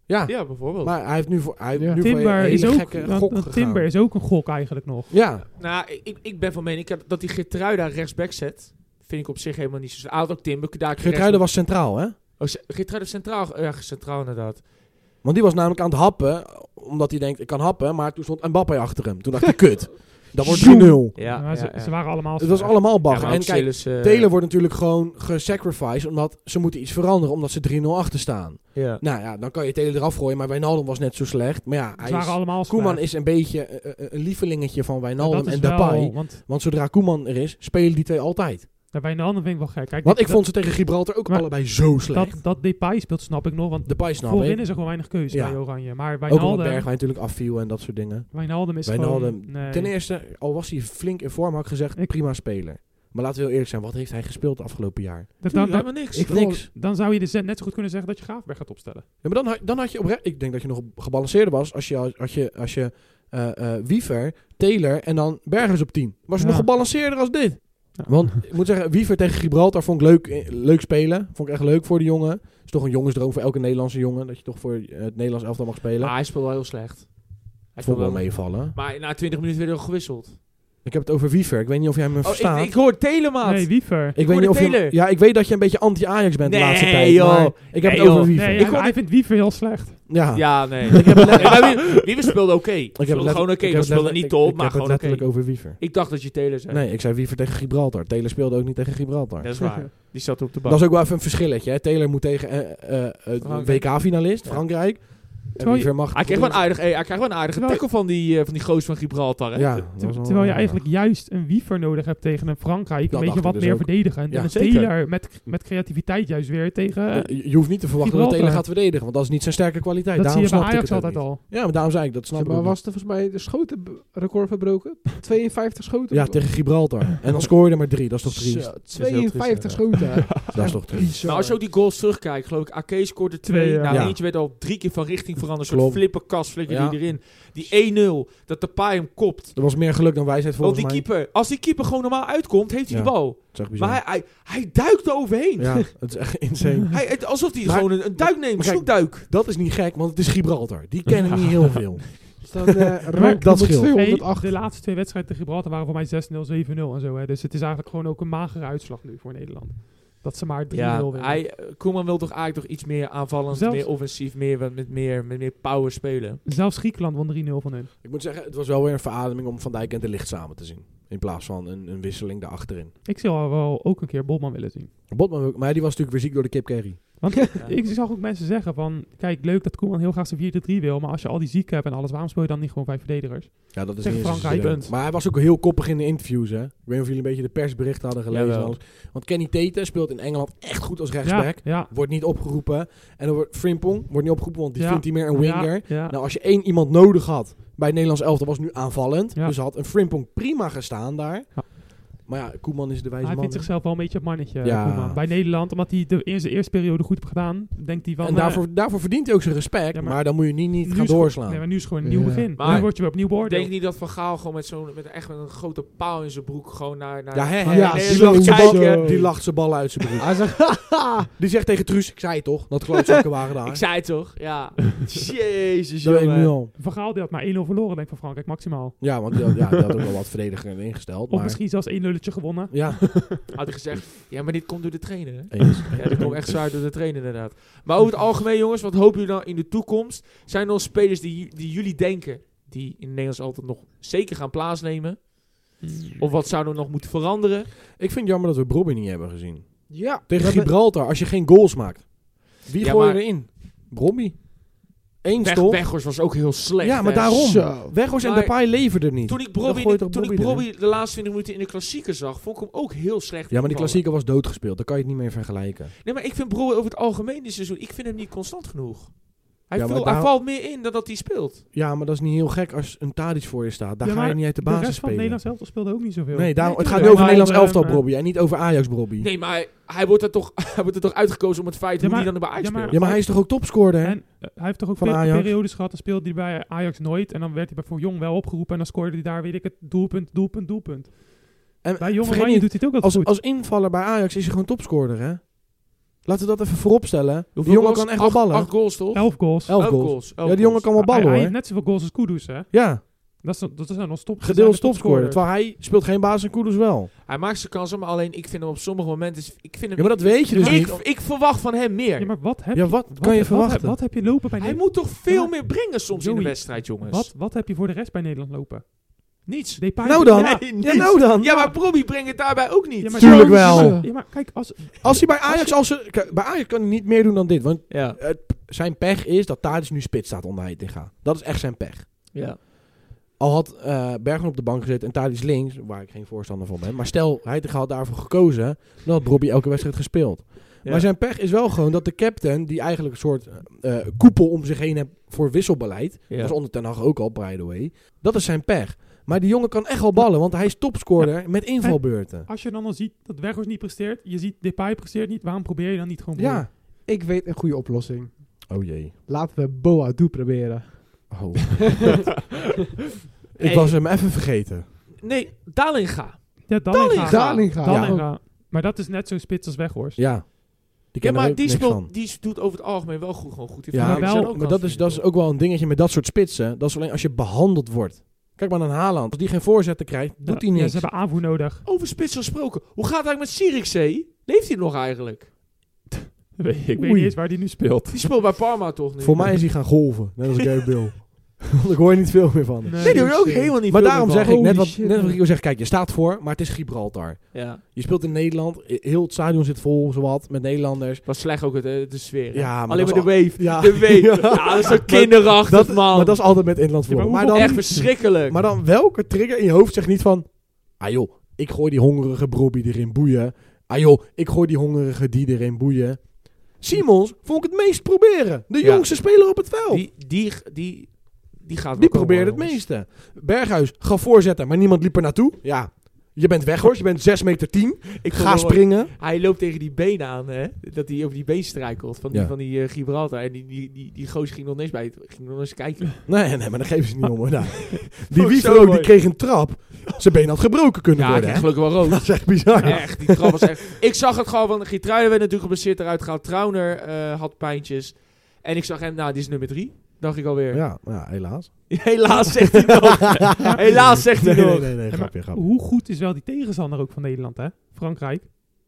B: Ja,
A: Ja, bijvoorbeeld.
B: maar hij heeft nu voor, hij heeft
D: Ja.
B: nu voor een
C: Timber
B: hele
C: is, ook,
B: gekke
C: want-
B: gok
C: want
B: gegaan.
C: Timber is ook een gok eigenlijk nog.
B: Ja,
A: Nou, ik, ik ben van mening dat die Gertruida rechtsback zet. Vind ik op zich helemaal niet zo... Hij had ook Timber. daar-
B: Geertruiden was centraal, hè?
A: Oh, ze- Geertruida centraal. Ja, centraal inderdaad.
B: Want die was namelijk aan het happen, omdat hij denkt, ik kan happen, maar toen stond Mbappé achter hem. Toen dacht ik, kut, dat wordt 3-0.
C: Zoem.
A: Ja,
C: Maar ze, ze waren allemaal...
B: Het was allemaal bagger. en kijk,
A: eh,
C: eh,
B: Taylor wordt natuurlijk gewoon gesacrificed, omdat ze moeten iets veranderen, omdat ze 3-0 achter staan.
A: Ja.
B: Nou ja, dan kan je Taylor eraf gooien, maar Wijnaldum was net zo slecht. Maar ja,
C: Ze
B: hij is,
C: waren allemaal
B: Koeman
C: slecht.
B: is een beetje eh, eh, een lievelingetje van
C: Maar dat
B: Wijnaldum
C: is
B: en
C: wel-
B: Depay.
C: Want
B: Want zodra Koeman er is, spelen die twee altijd.
C: ja, Wijnaldum vind ik wel gek. Kijk,
B: Want ik
C: dat-
B: vond ze tegen Gibraltar ook
C: Maar-
B: allebei zo slecht.
C: dat, dat Depay speelt, snap ik nog. Want
B: de Pais snap
C: voorin
B: ik.
C: is er gewoon weinig keuze
B: Ja.
C: bij Oranje. Maar
B: Ook omdat
C: Wijnaldum,
B: Bergwijn natuurlijk afviel en dat soort dingen.
C: Wijnaldum is
B: Wijnaldum,
C: gewoon... Nee.
B: Ten e- eerste, al was hij flink in vorm, had ik gezegd,
C: Ik-
B: prima speler. Maar laten we heel eerlijk zijn, wat heeft hij gespeeld de afgelopen jaar?
C: Dat-
A: Dan,
C: Dus dan, dan,
A: helemaal niks.
B: Ik
D: wil-
B: niks.
C: dan zou je dus net zo goed kunnen zeggen dat je Graafberg gaat opstellen.
B: Ja, maar dan, had- dan had je oprecht... Ik denk dat je nog gebalanceerder was als je, als je, als je eh, eh, Wiever, Taylor en dan Bergers op 10. Was je
C: Ja.
B: nog gebalanceerder als dit?
C: Ja.
B: Want ik moet zeggen, Wiever tegen Gibraltar vond ik leuk, eh, leuk spelen. Vond ik echt leuk voor de jongen. Is toch een jongensdroom voor elke Nederlandse jongen. Dat je toch voor eh, het Nederlands elftal mag spelen.
A: Maar Ah, hij speelde wel heel slecht. Hij
B: vond
A: speelde
B: ik wel
A: wel
B: meevallen.
A: Maar na 20 minuten werd hij al gewisseld.
B: Ik heb het over Wiever. Ik weet niet of jij me
A: Oh,
B: verstaat.
A: ik, ik hoor Telemaat.
C: Nee, Wiever.
B: weet
A: hoorde
B: niet of je,
A: Taylor.
B: ja, ik weet dat je een beetje anti-Ajax bent de
A: Nee,
B: laatste tijd.
A: joh.
B: maar ik heb
A: Nee,
B: het over
A: joh.
B: Wiever.
C: Nee,
B: ik,
C: hij, hij vindt Wiever heel slecht.
B: ja.
A: Ja, nee. ik heb nee, maar wie, wie speelde oké. Ik
B: Ik heb
A: speelde
B: het
A: gewoon oké.
B: ik
A: We
B: heb
A: speelden
B: het
A: niet
B: letterlijk-
A: top,
B: ik
A: maar
B: heb
A: gewoon
B: het
A: oké.
B: letterlijk over Wiever.
A: Ik dacht dat je Taylor zei.
B: Nee, ik zei Wiever tegen Gibraltar. Taylor speelde ook niet tegen Gibraltar.
A: Dat is waar. Die zat op de bank.
B: Dat is ook wel even een verschilletje. Hè. Taylor moet tegen eh, eh, eh, een
A: Frankrijk.
B: WK-finalist,
A: Ja.
B: Frankrijk. En
C: Terwijl je-
B: Wiever mag...
A: Hij kreeg wel een aardig, eh, hij kreeg wel een aardige
C: Terwijl-
A: tackle van die, eh, van die goos van Gibraltar. Hè?
B: Nou, Ja,
C: Ter-
B: dat was wel-
C: terwijl je eigenlijk juist een wiever nodig hebt tegen een Frankrijk.
B: Dat
C: een beetje
B: dacht ik
C: wat
B: dus
C: meer
B: ook.
C: verdedigend.
B: Ja,
C: en een
B: zeker.
C: Taylor met, met creativiteit juist weer tegen... eh,
B: Eh, Je je hoeft niet te verwachten dat Taylor
C: Gibraltar.
B: gaat verdedigen, want dat is niet zijn sterke kwaliteit.
C: dat
B: daarom
C: zie je bij
B: snapte ik
C: Ajax
B: het ook
C: altijd
B: niet.
C: al.
B: Ja, maar daarom zei ik, dat snap
D: Zeg
B: ik
D: maar
B: ook
D: was er volgens mij de schotenrecord verbroken? 52 schoten?
B: niet. Ja, tegen Gibraltar. En dan scoorde je er maar drie, dat is toch triest?
D: Zo,
A: heel triest,
D: 52
A: ja.
D: schoten.
B: Dat is toch triest?
A: Maar Nou, als je ook die goals terugkijkt, geloof ik, Ake scoorde twee.
C: Twee, ja.
A: Nou,
B: Ja.
A: eentje werd al drie keer van richting veranderd. Een soort
B: Klopt.
A: flipperkast flikker
B: Ja.
A: die erin. Die 1-0, dat de paai hem kopt.
B: Er was meer geluk dan wijsheid
A: Ook
B: volgens
A: Oh, die
B: mij.
A: keeper. Als die keeper gewoon normaal uitkomt, heeft hij
B: Ja.
A: de bal.
B: Dat is echt bizar.
A: Maar hij, hij, hij duikt er overheen.
B: Ja, het is echt insane.
A: Hij, het- alsof hij
B: Maar-
A: gewoon een, een duik neemt, een
B: maar kijk,
A: snoekduik.
B: Dat is niet gek, want het is Gibraltar. Die kennen niet heel veel.
D: Staan eh
B: dat
D: rank dat
B: scheelt.
C: Hey,
D: 208.
C: de laatste twee wedstrijden tegen Gibraltar waren voor mij 6-0, 7-0 en zo. Hè. Dus het is eigenlijk gewoon ook een magere uitslag nu voor Nederland. Dat ze maar 3-0
A: Ja,
C: winnen.
A: hij, eh, Koeman wil toch eigenlijk toch iets meer aanvallend,
C: Zelfs-
A: meer offensief, meer, wat- met, meer, met meer power spelen.
C: Zelfs Griekenland won 3-0 van hun.
B: Ik moet zeggen, het was wel weer een verademing om Van Dijk en De Licht samen te zien. In plaats van een, een wisseling daarachterin.
C: Ik zou wel ook een keer Bobman willen zien.
B: Botman, maar die was natuurlijk weer ziek door de kip carry.
C: Want ik zag ook mensen zeggen van... Kijk, leuk dat Koeman heel graag zijn 4-3 wil. Maar als je al die zieken hebt en alles... Waarom speel je dan niet gewoon vijf verdedigers?
B: Ja, dat is
C: Tegen
B: niet eens
C: Frankrijk.
B: incident. Maar hij was ook heel koppig in de interviews, hè. Ik weet niet of jullie een beetje de persberichten hadden gelezen. en
A: Jawel.
B: alles. Want Kenny Tete speelt in Engeland echt goed als
C: Ja,
B: rechtsback.
C: ja,
B: Wordt niet opgeroepen. En dan wordt Frimpong wordt niet opgeroepen, want die
C: Ja.
B: vindt hij meer een winger.
C: Ja, ja.
B: Nou, als je één iemand nodig had bij het Nederlands elftal, was nu aanvallend.
C: Ja.
B: Dus had een Frimpong prima gestaan daar.
C: Ja.
B: Maar ja, Koeman is de wijze
C: Hij
B: man.
C: vindt zichzelf wel een beetje het mannetje,
B: Ja.
C: Koeman. Bij Nederland, omdat hij de eerste, eerste periode goed heeft gedaan, denkt hij van...
B: en
C: eh,
B: daarvoor, daarvoor verdient hij ook zijn respect.
C: Ja, maar-
B: maar, dan moet je niet, niet
C: nu
B: gaan
C: is het-
B: doorslaan.
C: Nee, maar nu is het gewoon een nieuw
D: Ja.
C: begin.
A: Maar-
C: nu word je weer opnieuw
A: Ik denk
C: beoordeeld.
A: niet dat Van Gaal gewoon met zo'n met echt met een grote paal in zijn broek gewoon naar, naar
B: Ja, hè, hè.
A: naar
D: Ja,
A: Nederland
B: die,
D: zo,
B: lacht zijn
A: kijken.
D: zo.
B: bal, die lacht zijn ballen uit zijn broek.
D: Hij zegt, haha.
B: Die zegt tegen Truus, ik zei het toch, dat klootzakken waren daar.
A: Ik zei het toch? Ja. Jezus,
B: dat weet ik nu
A: jongen.
B: al.
C: Vergaal die had maar 1-0 verloren, denk ik, van Frankrijk, maximaal.
B: Ja, want die had, ja, die had ook wel wat verdediger ingesteld.
C: Of
B: Maar,
C: misschien zelfs 1 nulletje gewonnen.
B: Ja,
A: Had hij gezegd, ja, maar dit komt door de trainer, hè?
B: eens.
A: Ja, dit komt echt zwaar door de trainer, inderdaad. Maar over het algemeen, jongens, wat hopen jullie dan in de toekomst? Zijn er nog spelers die, ju- die jullie denken, die in Nederland altijd nog zeker gaan plaatsnemen? Of wat zouden we nog moeten veranderen?
B: Ik vind het jammer dat we Brobbey niet hebben gezien.
D: Ja.
B: Tegen
D: we hebben-
B: Gibraltar, als je geen goals maakt. Wie
A: Ja,
B: gooi je
A: maar-
B: erin? Brobbey. Eén
A: Weg,
B: stop.
A: Weghorst was ook heel slecht.
B: Ja, maar
A: hè.
B: daarom.
D: Zo.
B: Weghorst en
A: Maar-
B: Depay leverden niet.
A: Toen ik
B: Dan
A: Brobbey
B: gooi je toch
A: toen ik
B: Brobbey erin?
A: Brobbey de laatste 20 minuten in de klassieker zag, vond ik hem ook heel slecht.
B: Ja, maar die
A: invallen.
B: klassieker was doodgespeeld. Daar kan je het niet meer vergelijken.
A: Nee, maar ik vind Brobbey over het algemeen dit seizoen, ik vind hem niet constant genoeg. Hij,
B: Ja, maar
A: viel- hij
B: daar-
A: valt meer in dan dat hij speelt.
B: Ja, maar dat is niet heel gek als een Tadic voor je staat. Daar
C: Ja,
B: ga je
C: maar
B: niet uit de
C: de
B: basis
C: rest van
B: spelen.
C: Nederland zelf speelde ook niet zoveel.
B: Nee, daarom, het
C: tuurlijk.
B: gaat
C: Ja,
B: nu over
C: maar
B: Nederlands
C: over,
B: elftal
C: eh,
B: Brobby en niet over Ajax Brobby.
A: Nee, maar hij, hij wordt er toch, hij wordt er toch uitgekozen om het feit
C: Ja,
A: hoe
C: maar-
A: hij dan bij Ajax
C: ja, maar-
A: speelt.
B: Ja, maar hij is toch ook topscorer, hè?
C: En eh, hij heeft toch ook
B: Van
C: peri-
B: Ajax.
C: periodes gehad, dan speelde hij bij Ajax nooit. En dan werd hij bij voor Jong wel opgeroepen. En dan scoorde hij daar, weet ik het, doelpunt, doelpunt, doelpunt.
B: En
C: Bij Jong
B: vergeet
C: Oranje
B: niet,
C: doet hij het ook altijd
B: als,
C: goed.
B: als invaller bij Ajax is hij gewoon topscorer, hè? Laten we dat even voorop stellen. Die
A: Hoeveel
B: jongen
A: goals?
B: kan echt wel
A: Acht-
B: ballen.
A: Acht goals, toch?
C: Elf goals.
B: Elf goals.
A: elf
B: Ja, die jongen kan wel
C: hij,
B: ballen,
C: hij
B: hoor.
C: heeft net zoveel goals als Kudus, hè.
B: Ja,
C: Dat, is, dat zijn dan stop.
B: gedeeld
C: topscorer.
B: topscorer. Terwijl hij speelt geen baas en Koeders wel.
A: Hij maakt zijn kansen, maar alleen ik vind hem op sommige momenten... is- Ik vind
B: Ja,
A: hem,
B: maar dat weet je dus
A: ik,
B: niet.
A: ik verwacht van hem meer.
C: Ja, maar wat heb
B: Ja,
C: je...
B: wat
C: wat-
B: kan je
C: wat-
B: verwachten?
C: Wat, heb je lopen bij
A: hij
C: Nederland?
A: moet toch veel
C: Ja.
A: meer brengen soms in
C: Joey,
A: de wedstrijd, jongens.
C: Wat, wat heb je voor de rest bij Nederland lopen?
A: Niets.
C: Depay-
B: Nou dan.
C: Ja,
A: Nee,
B: Ja,
A: niets.
B: nou dan.
A: Ja, maar Probi brengt het daarbij ook niet.
C: ja, maar-
B: Tuurlijk wel.
C: Ja, maar- Ja, maar kijk, als...
B: Als hij bij Ajax... Als ze, kijk, bij Ajax kan hij niet meer doen dan dit. Want
A: ja.
B: zijn pech is dat Tadic nu spits staat onder Heitinga. Dat is echt zijn pech.
A: ja.
B: Al had eh Bergen op de bank gezeten en Tadic links, waar ik geen voorstander van ben. Maar stel, Heitinga had daarvoor gekozen, dan had Robbie elke wedstrijd gespeeld.
A: Ja.
B: Maar zijn pech is wel gewoon dat de captain, die eigenlijk een soort eh, eh, koepel om zich heen heeft voor wisselbeleid, dat was onder Ten Hag ook al, by the way, dat is zijn pech. Maar die jongen kan echt wel ballen, want hij is topscorer met invalbeurten.
C: Als je dan al ziet dat Weghorst niet presteert, je ziet Depay presteert niet, waarom probeer je dan niet gewoon... Brobbey?
B: Ja.
D: Ik weet een goede oplossing.
B: Oh jee.
D: Laten we Boa Doe proberen.
B: Oh. ik was hem even vergeten.
A: Nee, Dalinga.
C: Ja, Dallinga.
D: Dallinga.
C: Dallinga. Maar dat is net zo spits als Weghorst.
B: Ja. Die
A: Ja,
B: ken er
A: maar
B: ook
A: die,
B: niks van.
A: speelt, die doet over het algemeen wel goed, gewoon goed. Die
B: Ja,
A: vind
B: maar,
A: ik
C: wel-
A: zelf ook wel
B: dat, is,
A: vinden,
B: dat is ook wel een dingetje met dat soort spitsen. Dat is alleen als je behandeld wordt. Kijk maar naar Haaland. Als die geen voorzetten krijgt, doet hij
C: Ja,
B: niks.
C: ze hebben aanvoer nodig.
A: toch? Over spits gesproken. Hoe gaat het eigenlijk met Sirikzee? Leeft hij nog eigenlijk?
C: Ik weet ik weet
B: Oei.
C: niet eens waar die nu speelt.
A: Die speelt bij Parma toch nu?
B: Voor mij is hij gaan golven. Net als Gary Bill. Want ik hoor niet veel meer van. hem.
C: Nee.
A: Nee, die doet ook helemaal niet
B: Maar
A: veel
B: daarom
A: meer
B: zeg
A: van.
B: ik, net
D: Holy
B: wat,
D: shit,
B: net wat
D: man.
B: Rico zegt, kijk, je staat voor, maar het is Gibraltar.
A: Ja.
B: Je speelt in Nederland, i- heel het stadion zit vol, zowat, met Nederlanders.
A: Was slecht ook het, eh, de sfeer. hè?
B: Ja, maar
A: Alleen
B: dat
A: maar de
B: is
A: wave.
B: Ja.
A: De wave. Ja, dat is zo kinderachtig,
B: Dat,
A: man.
B: maar dat is altijd met Inland
C: Ja, maar
B: voetbal. maar,
C: hoeveel-
B: dan,
A: Echt verschrikkelijk.
B: maar dan welke trigger in je hoofd zegt niet van... Ah joh, ik gooi die hongerige Brobbie erin boeien. Ah joh, ik gooi die hongerige die erin boeien. Simons vond ik het meest proberen. De
A: Ja.
B: jongste speler op het veld. Die,
A: die, die, die, die gaat wel komen,
B: probeerde het
A: jongens.
B: meeste. Berghuis gaf voorzetten, maar niemand liep er naartoe. Ja, je bent weg hoor. Je bent 6 meter 10.
A: Ik vond
B: Ga
A: wel-
B: springen.
A: Hij loopt tegen die been aan, hè? Dat hij over die been struikelt van die,
B: Ja.
A: van die eh, Gibraltar. En die, die, die, die goos ging nog niks bij. Ging nog eens kijken.
B: Nee, nee, maar dat geven ze niet om hoor. Nou, die
A: Oh, zo
B: wiever ook, die
A: mooi.
B: kreeg een trap. Zijn been had gebroken kunnen
A: ja, ik
B: worden. hè.
A: kreeg gelukkig wel rood.
B: Dat is echt bizar.
A: Echt, die trap was echt... Ik zag het gewoon, want Gitruiden werd natuurlijk geblesseerd eruit gehaald. Trauner eh, had pijntjes. En ik zag hem, nou, die is nummer drie. Dacht ik alweer.
B: Ja, ja, helaas.
A: Helaas zegt hij nog. Helaas zegt hij
B: Nee, nee,
A: nog.
B: nee, nee, grapje, grapje.
C: Hoe goed is wel die tegenstander ook van Nederland, hè? Frankrijk.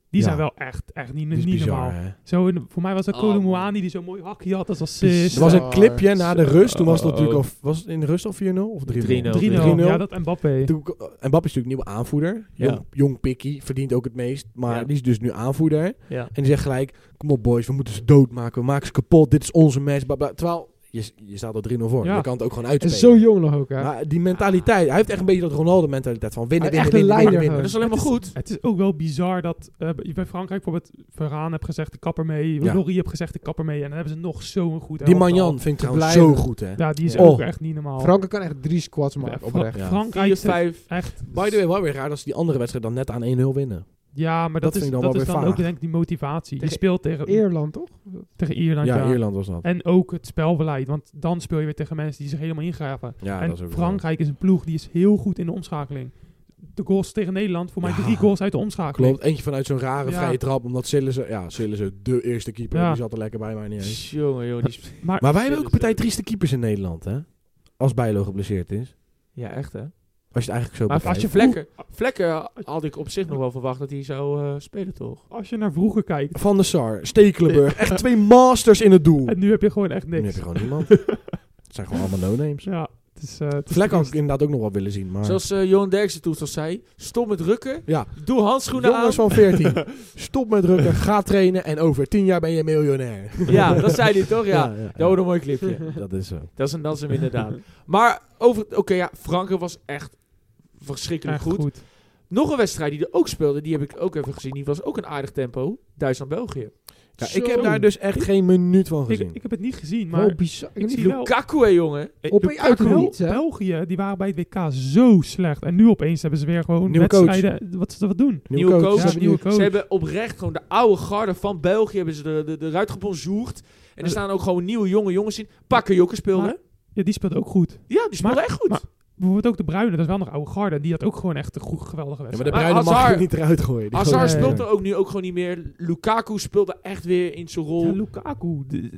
C: Die
B: Ja.
C: zijn wel echt, echt niet,
B: Dit is
C: niet
B: bizar,
C: normaal.
B: hè.
C: Zo, in- voor mij was dat
A: Oh,
C: Kolomouani die zo'n mooi hakje had als assist.
B: Er was een
D: Bizar.
B: clipje na de rust. Toen was dat
A: Zo.
B: natuurlijk al... Was het in de rust al 4-0 of 3-0?
A: 3-0.
C: 3-0.
B: 3-0.
C: Ja, dat Mbappé.
B: Toen- eh, En Bab is natuurlijk nieuwe aanvoerder.
A: Ja.
B: Jong, jong pikkie, verdient ook het meest. Maar
A: Ja.
B: die is dus nu aanvoerder.
A: Ja.
B: En die zegt gelijk... Kom op boys, we moeten ze doodmaken. We maken ze kapot. Dit is onze match. bla, bla." Terwijl je, je staat er 3-0 voor.
C: Ja.
B: Je kan het ook gewoon
D: En
B: uitspelen.
D: zo jong nog ook, hè?
B: Maar die mentaliteit, hij heeft echt een beetje dat Ronaldo-mentaliteit van winnen,
D: Hij is
B: winnen, winnen,
D: echt een
B: winnen,
D: leider
A: Dat
B: winnen.
A: is alleen maar goed.
C: Het is ook wel bizar dat eh, bij Frankrijk bijvoorbeeld Varaan heb gezegd de kapper mee,
B: Ja.
C: Laurie heb gezegd de kapper mee en dan hebben ze nog zo'n goed
B: Die
C: elftal.
B: Magnan vind ik trouwens
D: blijven.
B: zo goed, hè.
C: Ja, die is
D: Ja.
C: ook
B: Oh.
C: echt niet normaal.
D: Franken kan echt drie squads
C: Fra-
D: maken, oprecht.
B: Ja.
C: Frankrijk
A: Vier,
C: zit
A: vijf.
C: echt...
B: By the way, wel weer raar dat ze die andere wedstrijd dan net aan 1-0 winnen.
C: Ja, maar
B: Dat
C: dat,
B: vind
C: is,
B: ik dan
C: dat
B: wel
C: is
B: weer
C: dan
B: vaag.
C: ook denk ik die motivatie.
D: Tegen
C: je speelt tegen,
D: Ierland, toch?
C: tegen Ierland, ja.
B: Ja, Ierland was dat.
C: En ook het spelbeleid, want dan speel je weer tegen mensen die zich helemaal ingraven.
B: Ja, dat is
C: en
B: ook
C: Frankrijk is een ploeg die is heel goed in de omschakeling. De goals tegen Nederland, voor mij
B: Ja.
C: drie goals uit de
B: wel-
C: omschakeling.
B: Klopt, eentje vanuit zo'n rare
C: Ja.
B: vrije trap, omdat Sillissen... Ja, Sillissen, de eerste keeper,
C: Ja.
B: die zat er lekker bij mij niet eens.
A: Jongen, joh. Die sp-
C: Maar,
B: Maar wij hebben ook een partij
A: Sillissen.
B: trieste keepers in Nederland, hè. Als Bijlo geblesseerd is.
A: ja, echt hè.
B: Als je het eigenlijk zo
A: Maar
B: bekijkt.
A: als je vlekken, vlekken had ik op zich nog wel verwacht dat hij zou eh, spelen, toch?
C: als je naar vroeger kijkt,
B: Van der Sar, Stekelenburg, echt twee masters in het doel.
C: en nu heb je gewoon echt
B: Nu heb
C: niks.
B: je gewoon niemand. Het zijn gewoon allemaal no-names.
C: Ja, het is... eh, het is
B: Vlek had ik
C: triest.
B: inderdaad ook nog wel willen zien, maar...
A: Zoals eh, Johan Derksen toen al zei, stop met rukken,
B: Ja.
A: doe handschoenen
B: Jongens van 14, stop met drukken, ga trainen en over 10 jaar ben je miljonair.
A: aan. Ja, dat zei hij toch? Ja.
B: ja,
A: Dat was een mooi clipje.
B: Dat is zo.
A: Dat is, een, dat is hem inderdaad. Maar over, oké ja, Franken was echt verschrikkelijk
C: Echt
A: goed.
C: goed.
A: Nog een wedstrijd die er ook speelde, die heb ik ook even gezien. Die was ook een aardig tempo. Duitsland-België.
B: Ja,
A: Zo.
B: ik heb daar dus echt geen minuut van
C: Ik,
B: gezien.
C: ik heb het niet gezien, maar...
D: Maar bizar. Ik
C: ik
D: niet
C: zie
D: veel-
C: wel...
A: Lukaku, hè, jongen.
C: Eh,
D: Op een uit
C: Bel-
D: niets, hè?
C: België, die waren bij het WK zo slecht. En nu opeens hebben ze weer gewoon
B: Nieuwe coach.
C: wedstrijden... Wat ze wat doen.
A: Nieuwe coach.
C: Ja,
A: hebben
C: nieuwe coach.
A: Ze hebben oprecht gewoon de oude garde van België hebben ze er- er- er- eruit gebonjourd. En er
C: Ja,
A: staan ook gewoon nieuwe jonge jongens in. Bakkerjokken speelde.
C: Maar- Ja, die speelt ook goed.
A: ja, die speelde
C: maar-
A: echt goed.
C: maar- Bijvoorbeeld ook de Bruyne, dat is wel nog oude garde. Die had ook gewoon echt een goed, geweldige
B: Ja, maar
C: wedstrijd.
B: de
A: Maar
B: bruine mag
A: Hazard-
B: je niet eruit gooien. Die
A: Hazard
B: gozer-
A: speelt er ook nu ook gewoon niet meer. Lukaku speelde echt weer in zijn rol.
C: Ja, Lukaku. de-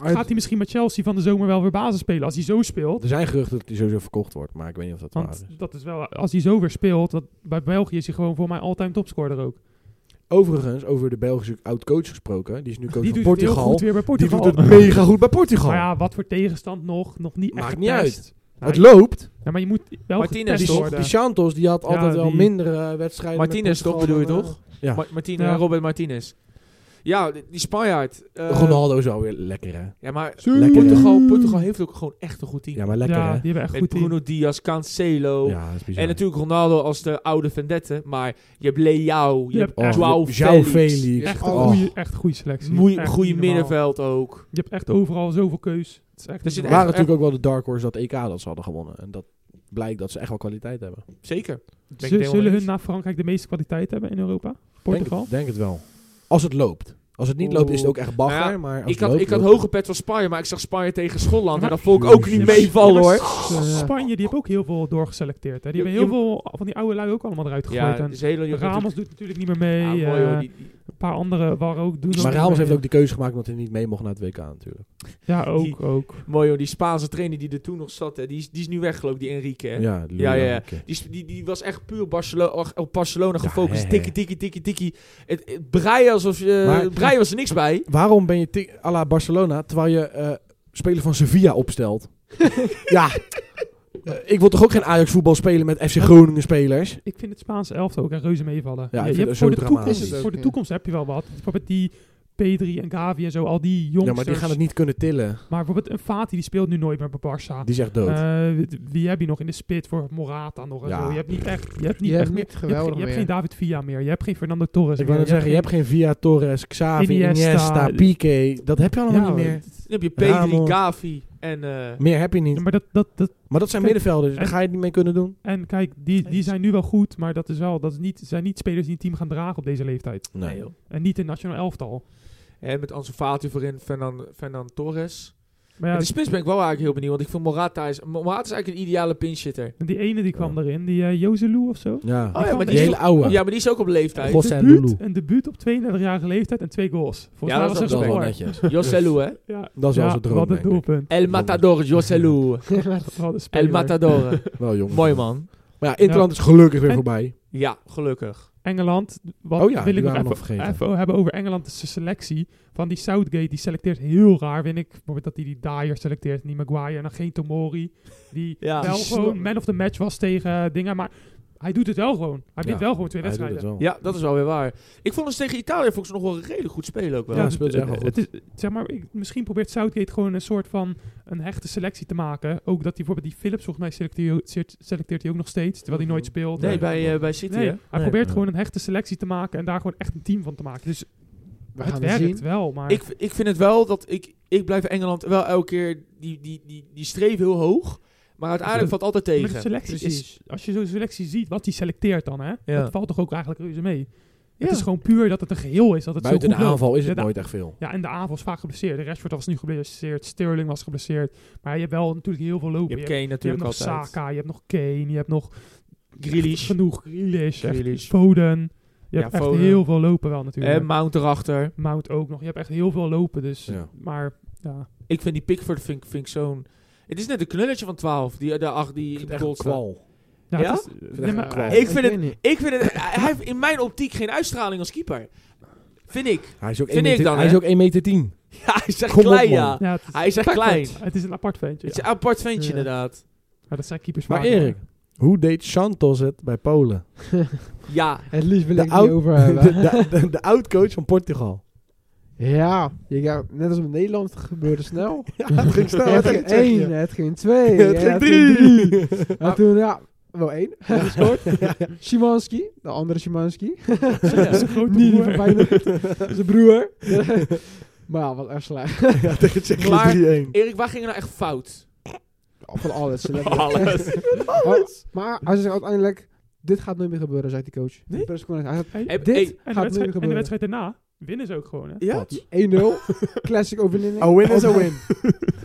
B: Maar
C: gaat hij misschien met Chelsea van de zomer wel weer basis spelen als hij zo speelt?
B: Er zijn geruchten dat hij sowieso verkocht wordt, maar ik weet niet of dat waar dus. is.
C: Want dat is wel, als hij zo weer speelt, dat, bij België is hij gewoon voor mij all-time topscorer ook.
B: Overigens, over de Belgische oud-coach gesproken, die is nu coach
C: Die
B: van
C: doet het heel
B: Portugal.
C: goed weer bij
B: Die
C: Portugal.
B: doet het mega goed bij Portugal.
C: Maar ja, wat voor tegenstand nog, nog niet echt
B: Maakt niet
C: getest.
B: het loopt.
C: Ja, maar je moet wel
A: Martinez
C: getest
A: toch?
C: worden.
B: Die Santos die had
C: Ja,
B: altijd wel
C: die-
B: mindere eh, wedstrijden. met
A: Martinez toch
B: Portugal
A: bedoel je
B: dan, eh,
A: toch?
B: ja.
A: Ma- Martinez,
C: Ja.
A: Robert Martinez. Ja, die die Spanjaard. eh,
B: eh, Ronaldo is wel weer lekker, hè?
A: Ja, maar
B: Lekker, hè?
A: Portugal, Portugal heeft ook gewoon echt een goed team.
B: Ja, maar lekker,
C: ja,
B: hè?
C: die hebben echt
A: Met
C: goed team.
A: Bruno Diaz, Cancelo.
B: Ja, dat is bizar.
A: En natuurlijk Ronaldo als de oude vendette. Maar je hebt Leao, je,
C: Je
A: hebt
C: hebt
B: Oh,
C: echt-
A: Joao
B: je- Joao
A: Felix.
B: Felix.
A: Echt
C: Echt
A: een
C: een
B: Oh.
C: goede, echt goede selectie.
A: moe-
C: Echt
A: goede
C: niet normaal.
A: middenveld ook.
C: Je hebt echt overal zoveel keus. Het is echt
A: Er zit
B: waren
C: niet normaal.
A: echt-
B: natuurlijk ook wel de dark horse dat EK dat ze hadden gewonnen. En dat blijkt dat ze echt wel kwaliteit hebben.
A: Zeker.
C: Zul-
A: Ben ik het helemaal
C: Zullen
A: mee
C: hun na Frankrijk de meeste kwaliteit hebben in Europa? Portugal?
B: Denk, denk het wel. Als het loopt. Als het niet loopt is het ook echt bagger.
A: Nou ja,
B: maar als
A: Ik
B: het
A: had,
B: loopt,
A: ik had
B: loopt
A: hoge pet van Spanje, maar ik zag Spanje tegen Schotland. En
C: Maar-
A: dat vond ik ook niet
B: Ja, maar-
A: meevallen
C: Ja, maar
A: hoor.
D: eh,
C: Spanje, die heeft ook heel veel doorgeselecteerd. Hè. Die
A: Je-
C: hebben heel
A: je-
C: veel van die oude lui ook allemaal eruit gegooid.
A: Ja,
C: en
A: het is hele
C: Ramos doet natuurlijk niet meer mee.
A: Ja, mooi,
C: eh,
A: hoor. Die- die-
C: een paar anderen waren ook... Doen ook
B: Maar
C: niet
B: Ramos
C: mee.
B: heeft ook de keuze gemaakt omdat hij niet mee mocht naar het WK natuurlijk.
C: Ja,
A: Die-
C: ook, ook.
A: Mooi hoor, die Spaanse trainer die er toen nog zat, hè, die, is, die is nu weg geloof ik, die Enrique. Hè?
B: Ja, Lula
A: ja, ja.
B: een keer.
A: Die, is- die, die was echt puur Barcelo- och, op Barcelona
B: Ja,
A: gefocust.
B: hè, hè.
A: Tikkie, tikkie, tikkie, tikkie. Het, het breien alsof je...
B: Maar-
A: breien was er niks bij.
B: Waarom ben je ti- à la Barcelona terwijl je eh speler van Sevilla opstelt? ja. Eh, ik wil toch ook geen Ajax voetbal spelen met FC Groningen spelers?
C: Ik vind het Spaanse elftal ook een reuze meevallen.
B: Ja, ik
C: Je-
B: vind
C: je
B: het
C: hebt
B: zo
C: voor, de
B: dramatisch.
C: toekomst,
D: Is het
C: voor de
D: ook,
C: toekomst heb je wel wat. Bijvoorbeeld die P3 en Gavi en zo, al die jongsters.
B: Ja, maar die gaan het niet kunnen tillen.
C: Maar bijvoorbeeld een Fati, die speelt nu nooit meer bij Barça.
B: Die zegt dood.
C: Eh, wie- wie heb je nog in de spit voor Morata nog en
B: Ja.
C: zo? Je hebt niet echt, je hebt niet
D: Je
C: echt
D: hebt
C: meer.
D: niet
C: je hebt
D: geweldig
C: geen- je hebt geen
D: meer.
C: David Villa meer. Je hebt geen Fernando Torres.
B: ik
C: meer,
B: wou net zeggen, je hebt geen Via, Torres, Xavi, Iniesta,
C: Iniesta,
B: Piqué. Dat heb je allemaal
C: Ja,
B: niet meer.
A: Dan heb je
B: Ramos.
A: Pedri, Gavi en... eh,
B: Meer heb je niet.
C: Maar dat, dat, dat,
B: Maar dat zijn
C: Kijk,
B: middenvelders, daar
C: en-
B: ga je het niet mee kunnen doen.
C: en kijk, die, die zijn nu wel goed, maar dat is wel, dat is niet, zijn niet spelers die een team gaan dragen op deze leeftijd.
A: nee, joh.
C: En niet in nationaal elftal.
A: Hè, met Ansu Fati voorin, Fernan, Fernan Torres.
C: Maar ja,
A: Met de spits ben ik wel eigenlijk heel benieuwd. Want ik vind Morata is... Morata is eigenlijk een ideale pinchitter.
C: die ene die kwam erin, die eh Jozelu of zo.
B: Ja,
A: Oh ja, maar
B: die,
A: die,
B: hele
A: is,
B: oude.
A: ja, maar die is ook op leeftijd.
B: José
C: Een debuut-
B: Lulu.
C: Een debuut op 32-jarige leeftijd en twee goals. Volgens
A: Ja,
C: mij
A: dat
C: was
A: is
C: dat
B: dat is wel
C: scoor.
B: netjes.
A: Joselu, hè?
C: Ja,
B: Dat is wel
C: ja,
B: zijn droom,
C: Wat een
B: denk ik.
C: doelpunt.
A: El Matador, Joselu.
C: Wat een
A: El
C: speler.
A: Matador.
B: Wel jongen.
A: Mooi man.
B: Maar ja, Interland is gelukkig weer
C: En-
B: voorbij.
A: Ja, gelukkig.
C: Engeland, wat
B: Oh ja,
C: wil
B: die
C: ik nog
B: waren we nog
C: even,
B: vergeten.
C: even hebben over Engeland, is de selectie van die Southgate, die selecteert heel raar, vind ik. Bijvoorbeeld dat hij die Dyer selecteert, niet Maguire, en dan geen Tomori, die
A: Ja.
C: wel
A: Die
C: gewoon man of the match was tegen eh, dingen, maar Hij doet het wel gewoon. Hij wint
B: Ja,
C: wel gewoon twee
B: Hij doet
C: wedstrijden.
B: het wel.
A: Ja, dat is wel weer waar. Ik vond ons tegen Italië volgens nog wel redelijk goed spelen ook wel.
B: Ja,
C: het-
B: speelt ze echt wel
C: het- het is- zeg maar, ik- misschien probeert Southgate gewoon een soort van een hechte selectie te maken. Ook dat hij bijvoorbeeld die Philips, volgens mij selecteert, selecteert- selecteert hij ook nog steeds, terwijl hij nooit speelt.
A: nee,
B: Mhm. Nee.
A: bij, eh, bij City,
C: Nee,
A: hè?
C: hij
B: Nee.
C: probeert
B: Ja.
C: gewoon een hechte selectie te maken en daar gewoon echt een team van te maken. Dus
D: We
C: het
D: gaan
C: werkt
D: het zien.
C: wel, maar
A: Ik, ik vind het wel dat ik, ik blijf Engeland wel elke keer die, die, die, die streef heel hoog. Maar uiteindelijk valt altijd
C: met de
A: tegen.
C: selectie
D: Precies.
C: is, als je zo'n selectie ziet, wat hij selecteert dan, hè,
A: Ja.
C: dat valt toch ook eigenlijk reuze mee. Het
A: Ja.
C: is gewoon puur dat het een geheel is, dat het
B: Buiten
C: zo
B: de
C: goed loopt.
B: aanval is
C: Ja,
B: het
C: de-
B: nooit echt veel.
C: Ja, en de aanval is vaak geblesseerd. De Rashford was nu geblesseerd, Sterling was geblesseerd. Maar je hebt wel natuurlijk heel veel
A: Je
C: lopen.
A: hebt
C: Je
A: Kane
C: je hebt
A: natuurlijk
C: nog
A: altijd.
C: Saka, je hebt nog Kane, je hebt nog
A: Grealish.
C: echt genoeg Grealish, echt
A: Grealish.
C: Foden. Je hebt echt
A: Foden.
C: heel veel lopen wel natuurlijk.
A: En Mount erachter.
C: Mount ook nog. Je hebt echt heel veel lopen, dus
B: Ja.
C: maar ja.
A: Ik vind die Pickford vind, ik- vind ik zo'n... Het is net een knulletje van 12, die, de acht die in de goal staat.
C: Ja,
A: Ja?
C: het is-
B: het
C: nee,
B: echt
C: maar-
B: een kwal.
A: Ik vind
D: weet
A: het-
D: niet.
A: Ik vind het... hij heeft in mijn optiek geen uitstraling als keeper. Vind ik.
B: Hij is ook
A: Vind
B: 1
A: ik
B: meter,
A: dan,
B: hij is
A: hè?
B: ook 1 meter 10.
A: Ja, hij is echt
B: Kom op,
A: klein,
B: man.
A: ja.
C: ja, het is,
A: Hij is echt klein.
C: Pickford. Het is een apart ventje.
A: Het is
C: Ja.
A: een apart ventje,
D: Ja.
A: inderdaad.
C: Ja, dat zijn keepers
B: Maar
C: vaak,
B: Erik,
C: hoor.
B: hoe deed Santos het bij Polen?
A: Ja.
D: Het liefst wil ik het
B: oud-
D: niet over
B: de,
D: hebben.
B: de, de, de oud-coach van Portugal.
D: Ja, je gaat- net als met Nederland het gebeurde snel.
B: Ja, het ging snel.
D: het
B: hè,
D: ging
B: tegen Tsjechië.
D: één, het ging twee,
B: Het
D: ja,
B: ging
D: het
B: drie.
A: Ah,
D: En toen, ja, wel één. Hij gescoord. Szymanski, de andere Szymanski.
C: Zijn grote
D: Niet die
C: broer.
D: van Feyenoord. Zijn broer. maar ja, wat echt slecht.
B: ja, tegen Tsjechië
A: Maar-
B: 3-1.
A: Erik, waar ging er nou echt fout?
D: Van alles. Oh,
A: Alles.
D: alles. Maar hij zei uiteindelijk, dit gaat nooit meer gebeuren, zei die coach.
A: Nee?
D: De persconferentie. Hij
C: Hey,
A: Hey,
C: en,
D: Dit
A: hey,
C: de
D: gaat
C: wedstrijd,
D: nu
C: en de
D: gebeuren.
C: wedstrijd daarna winnen ze ook gewoon, hè?
A: ja?
D: zei 1-0, classic overwinning.
B: A win is a win.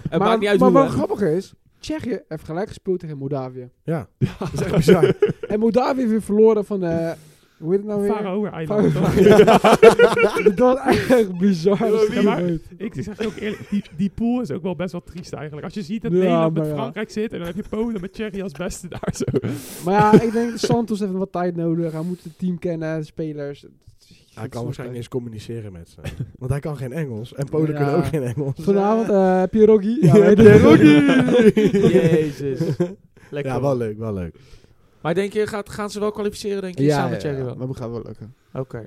A: Het maakt niet uit
D: maar
A: hoe,
D: wat
A: hè?
D: grappig is, Tsjechië heeft gelijk gespeeld tegen Moldavië.
B: Ja, dat is echt bizar.
D: En Moldavië heeft weer verloren van, eh hoe heet het nou weer?
C: Faroe Eiland.
D: Faro-
C: toch?
D: dat was echt bizar.
A: Ja,
C: Ja, maar ik zeg je ook eerlijk, die, die pool is ook wel best wel triest eigenlijk. Als je ziet dat
D: Ja,
C: Nederland met
D: maar ja.
C: Frankrijk zit en dan heb je Polen met Tsjechië als beste daar zo.
D: Maar ja, ik denk Santos heeft wat tijd nodig. Hij moet het team kennen, de spelers.
B: Hij kan waarschijnlijk eens communiceren met ze. Want hij kan geen Engels. En Polen
D: Ja.
B: kunnen ook geen Engels.
D: Vanavond eh Pierogi. Ja, weet het.
B: Pierogi!
A: Jezus. Lekker.
B: Ja, wel leuk, wel leuk.
A: Maar denk je, gaat, gaan ze wel kwalificeren, denk je?
D: Ja,
A: samen met
D: ja,
A: Tsjechië
D: ja,
A: wel?
D: maar we gaan wel lukken.
A: Oké.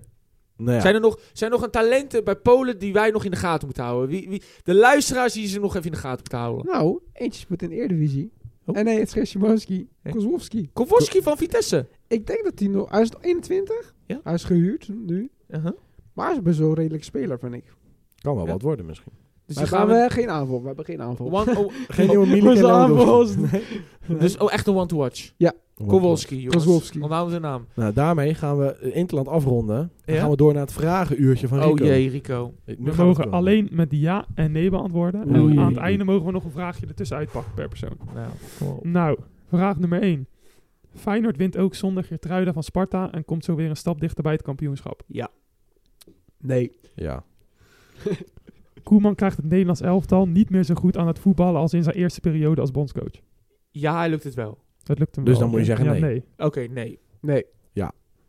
B: Nou ja.
A: Zijn er nog, zijn er nog een talenten bij Polen die wij nog in de gaten moeten houden? Wie, wie, de luisteraars die ze nog even in de gaten moeten houden.
D: Nou, eentje met een Eredivisie.
A: Oh.
D: En nee, het is geen Szymanski.
A: Ja.
D: Kozłowski.
A: Kowalski van Vitesse.
D: Ik denk dat hij nog... Hij is nog 21.
A: Ja.
D: Hij is gehuurd nu.
A: Uh-huh.
D: Maar hij is best wel een redelijke speler, vind ik.
B: Kan wel
A: Ja.
B: wat worden misschien.
A: Dus
D: Maar
A: die
D: gaan
A: gaan
D: we
A: we...
D: geen aanval. We hebben geen aanval.
A: One, oh,
B: Geen nieuwe
D: Milik en
B: Milik
D: Lewandowski.
A: dus oh, echt een one to watch. Kowalski, jongens.
D: Kozłowski.
A: Onthouden zijn naam.
B: Nou, daarmee gaan we het Interland afronden. Dan
A: Ja?
B: gaan we door naar het vragenuurtje van Rico.
A: Oh jee, Rico.
B: Ik- nu
C: We
B: gaat het
C: mogen
B: komen.
C: alleen met ja en nee beantwoorden. En
B: Oei.
C: aan het einde mogen we nog een vraagje ertussen uitpakken per persoon.
A: Nou, kom op.
C: Nou, vraag nummer 1. Feyenoord wint ook zonder Geertruida van Sparta en komt zo weer een stap dichter bij het kampioenschap.
A: Ja.
D: Nee.
B: Ja.
C: Koeman krijgt het Nederlands elftal niet meer zo goed aan het voetballen als in zijn eerste periode als bondscoach.
A: Ja, hij lukt het wel.
C: Dat lukt hem
B: Dus
C: wel.
B: dan moet je zeggen
C: Ja,
B: nee.
A: Oké, nee.
D: Nee.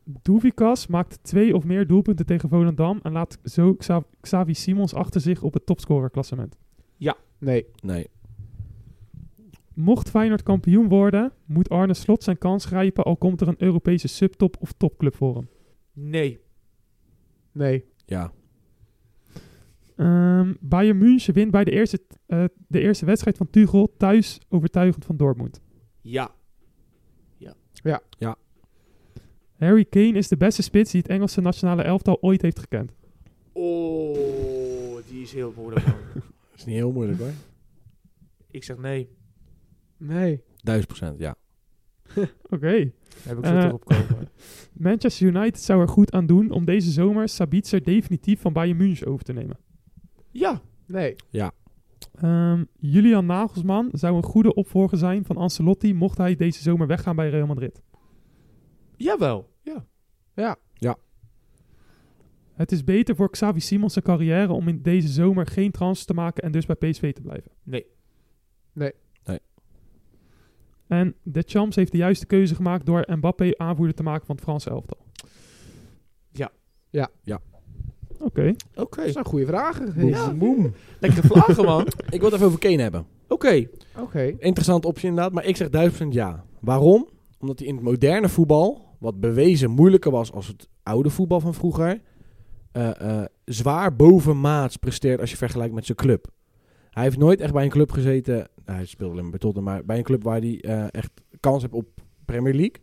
C: Doevikas maakt twee of meer doelpunten tegen Volendam en laat zo Xa- Xavi Simons achter zich op het topscorerklassement.
D: Nee.
B: Nee.
C: Mocht Feyenoord kampioen worden, moet Arne Slot zijn kans grijpen al komt er een Europese subtop of topclub voor hem.
A: Nee.
D: Nee.
B: Ja.
C: Ehm Bayern München wint bij de eerste, eh, de eerste wedstrijd van Tuchel thuis overtuigend van Dortmund.
A: Ja.
C: Harry Kane is de beste spits die het Engelse nationale elftal ooit heeft gekend.
A: Oh, die is heel moeilijk. man.
B: is niet heel moeilijk hoor.
A: ik zeg nee.
D: Nee.
B: Duizend procent, ja.
C: Oké.
A: Heb ik zo
C: Eh.
A: erop komen.
C: Manchester United zou er goed aan doen om deze zomer Sabitzer definitief van Bayern München over te nemen.
A: Ja.
D: Nee.
C: Ehm, Julian Nagelsman zou een goede opvolger zijn van Ancelotti mocht hij deze zomer weggaan bij Real Madrid.
A: Jawel. Ja.
C: Het is beter voor Xavi Simons zijn carrière om in deze zomer geen trans te maken en dus bij PSV te blijven.
A: Nee.
D: Nee.
B: Nee.
C: En de Champs heeft de juiste keuze gemaakt door Mbappé aanvoerder te maken van het Franse elftal.
A: Ja.
D: Ja.
B: Ja.
C: Oké.
A: Oké.
D: Dat zijn goede vragen.
B: Boem.
D: Oké.
B: Boem.
A: Lekker vlagen, man. Oké.
B: Ik wil het even over Kane hebben. Interessante optie inderdaad, maar ik zeg duizend procent ja. Waarom? Omdat hij in het moderne voetbal, wat bewezen moeilijker was als het oude voetbal van vroeger, eh, eh, zwaar bovenmaats presteert als je vergelijkt met zijn club. Hij heeft nooit echt bij een club gezeten, nou, hij speelde alleen maar bij Tottenham, maar bij een club waar hij eh, echt kans heeft op Premier League.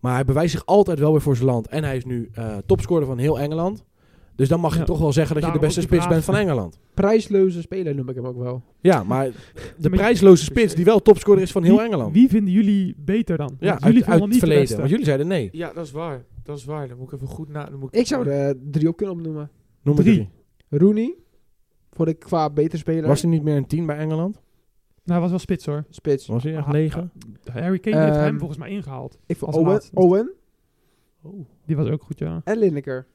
B: Maar hij bewijst zich altijd wel weer voor zijn land. En hij is nu eh topscorer van heel Engeland. Dus dan mag je
C: Ja,
B: toch wel zeggen dat je de
C: daarom
B: beste
C: ook die
B: spits bent
C: vraag.
B: van Engeland.
D: Prijsloze speler noem ik hem ook wel.
B: Ja, maar de
C: Maar-
B: prijsloze spits die wel topscorer is van heel
C: Wie-
B: Engeland.
C: Wie vinden jullie beter dan?
B: Ja,
C: Want
B: uit,
C: jullie vonden
B: uit
C: hem
B: het
C: niet de
B: verleden.
C: beste.
B: Want jullie zeiden nee.
A: Ja, dat is waar. Dat is waar. Dan moet ik even goed na... Dan moet
D: Ik zou er eh, drie op kunnen opnoemen.
B: Noem maar
C: Drie.
B: drie.
D: Rooney, vond ik qua beter speler.
B: Was hij niet meer een 10 bij Engeland?
C: Nou, hij was wel spits hoor.
D: Spits.
B: Was hij echt
C: Ah,
B: 9?
C: Harry Kane heeft
D: Ehm,
C: hem volgens mij ingehaald.
D: Ik vond
C: Als
D: Owen,
C: laatste.
D: Owen
C: Die was ook goed, ja.
D: en Lineker.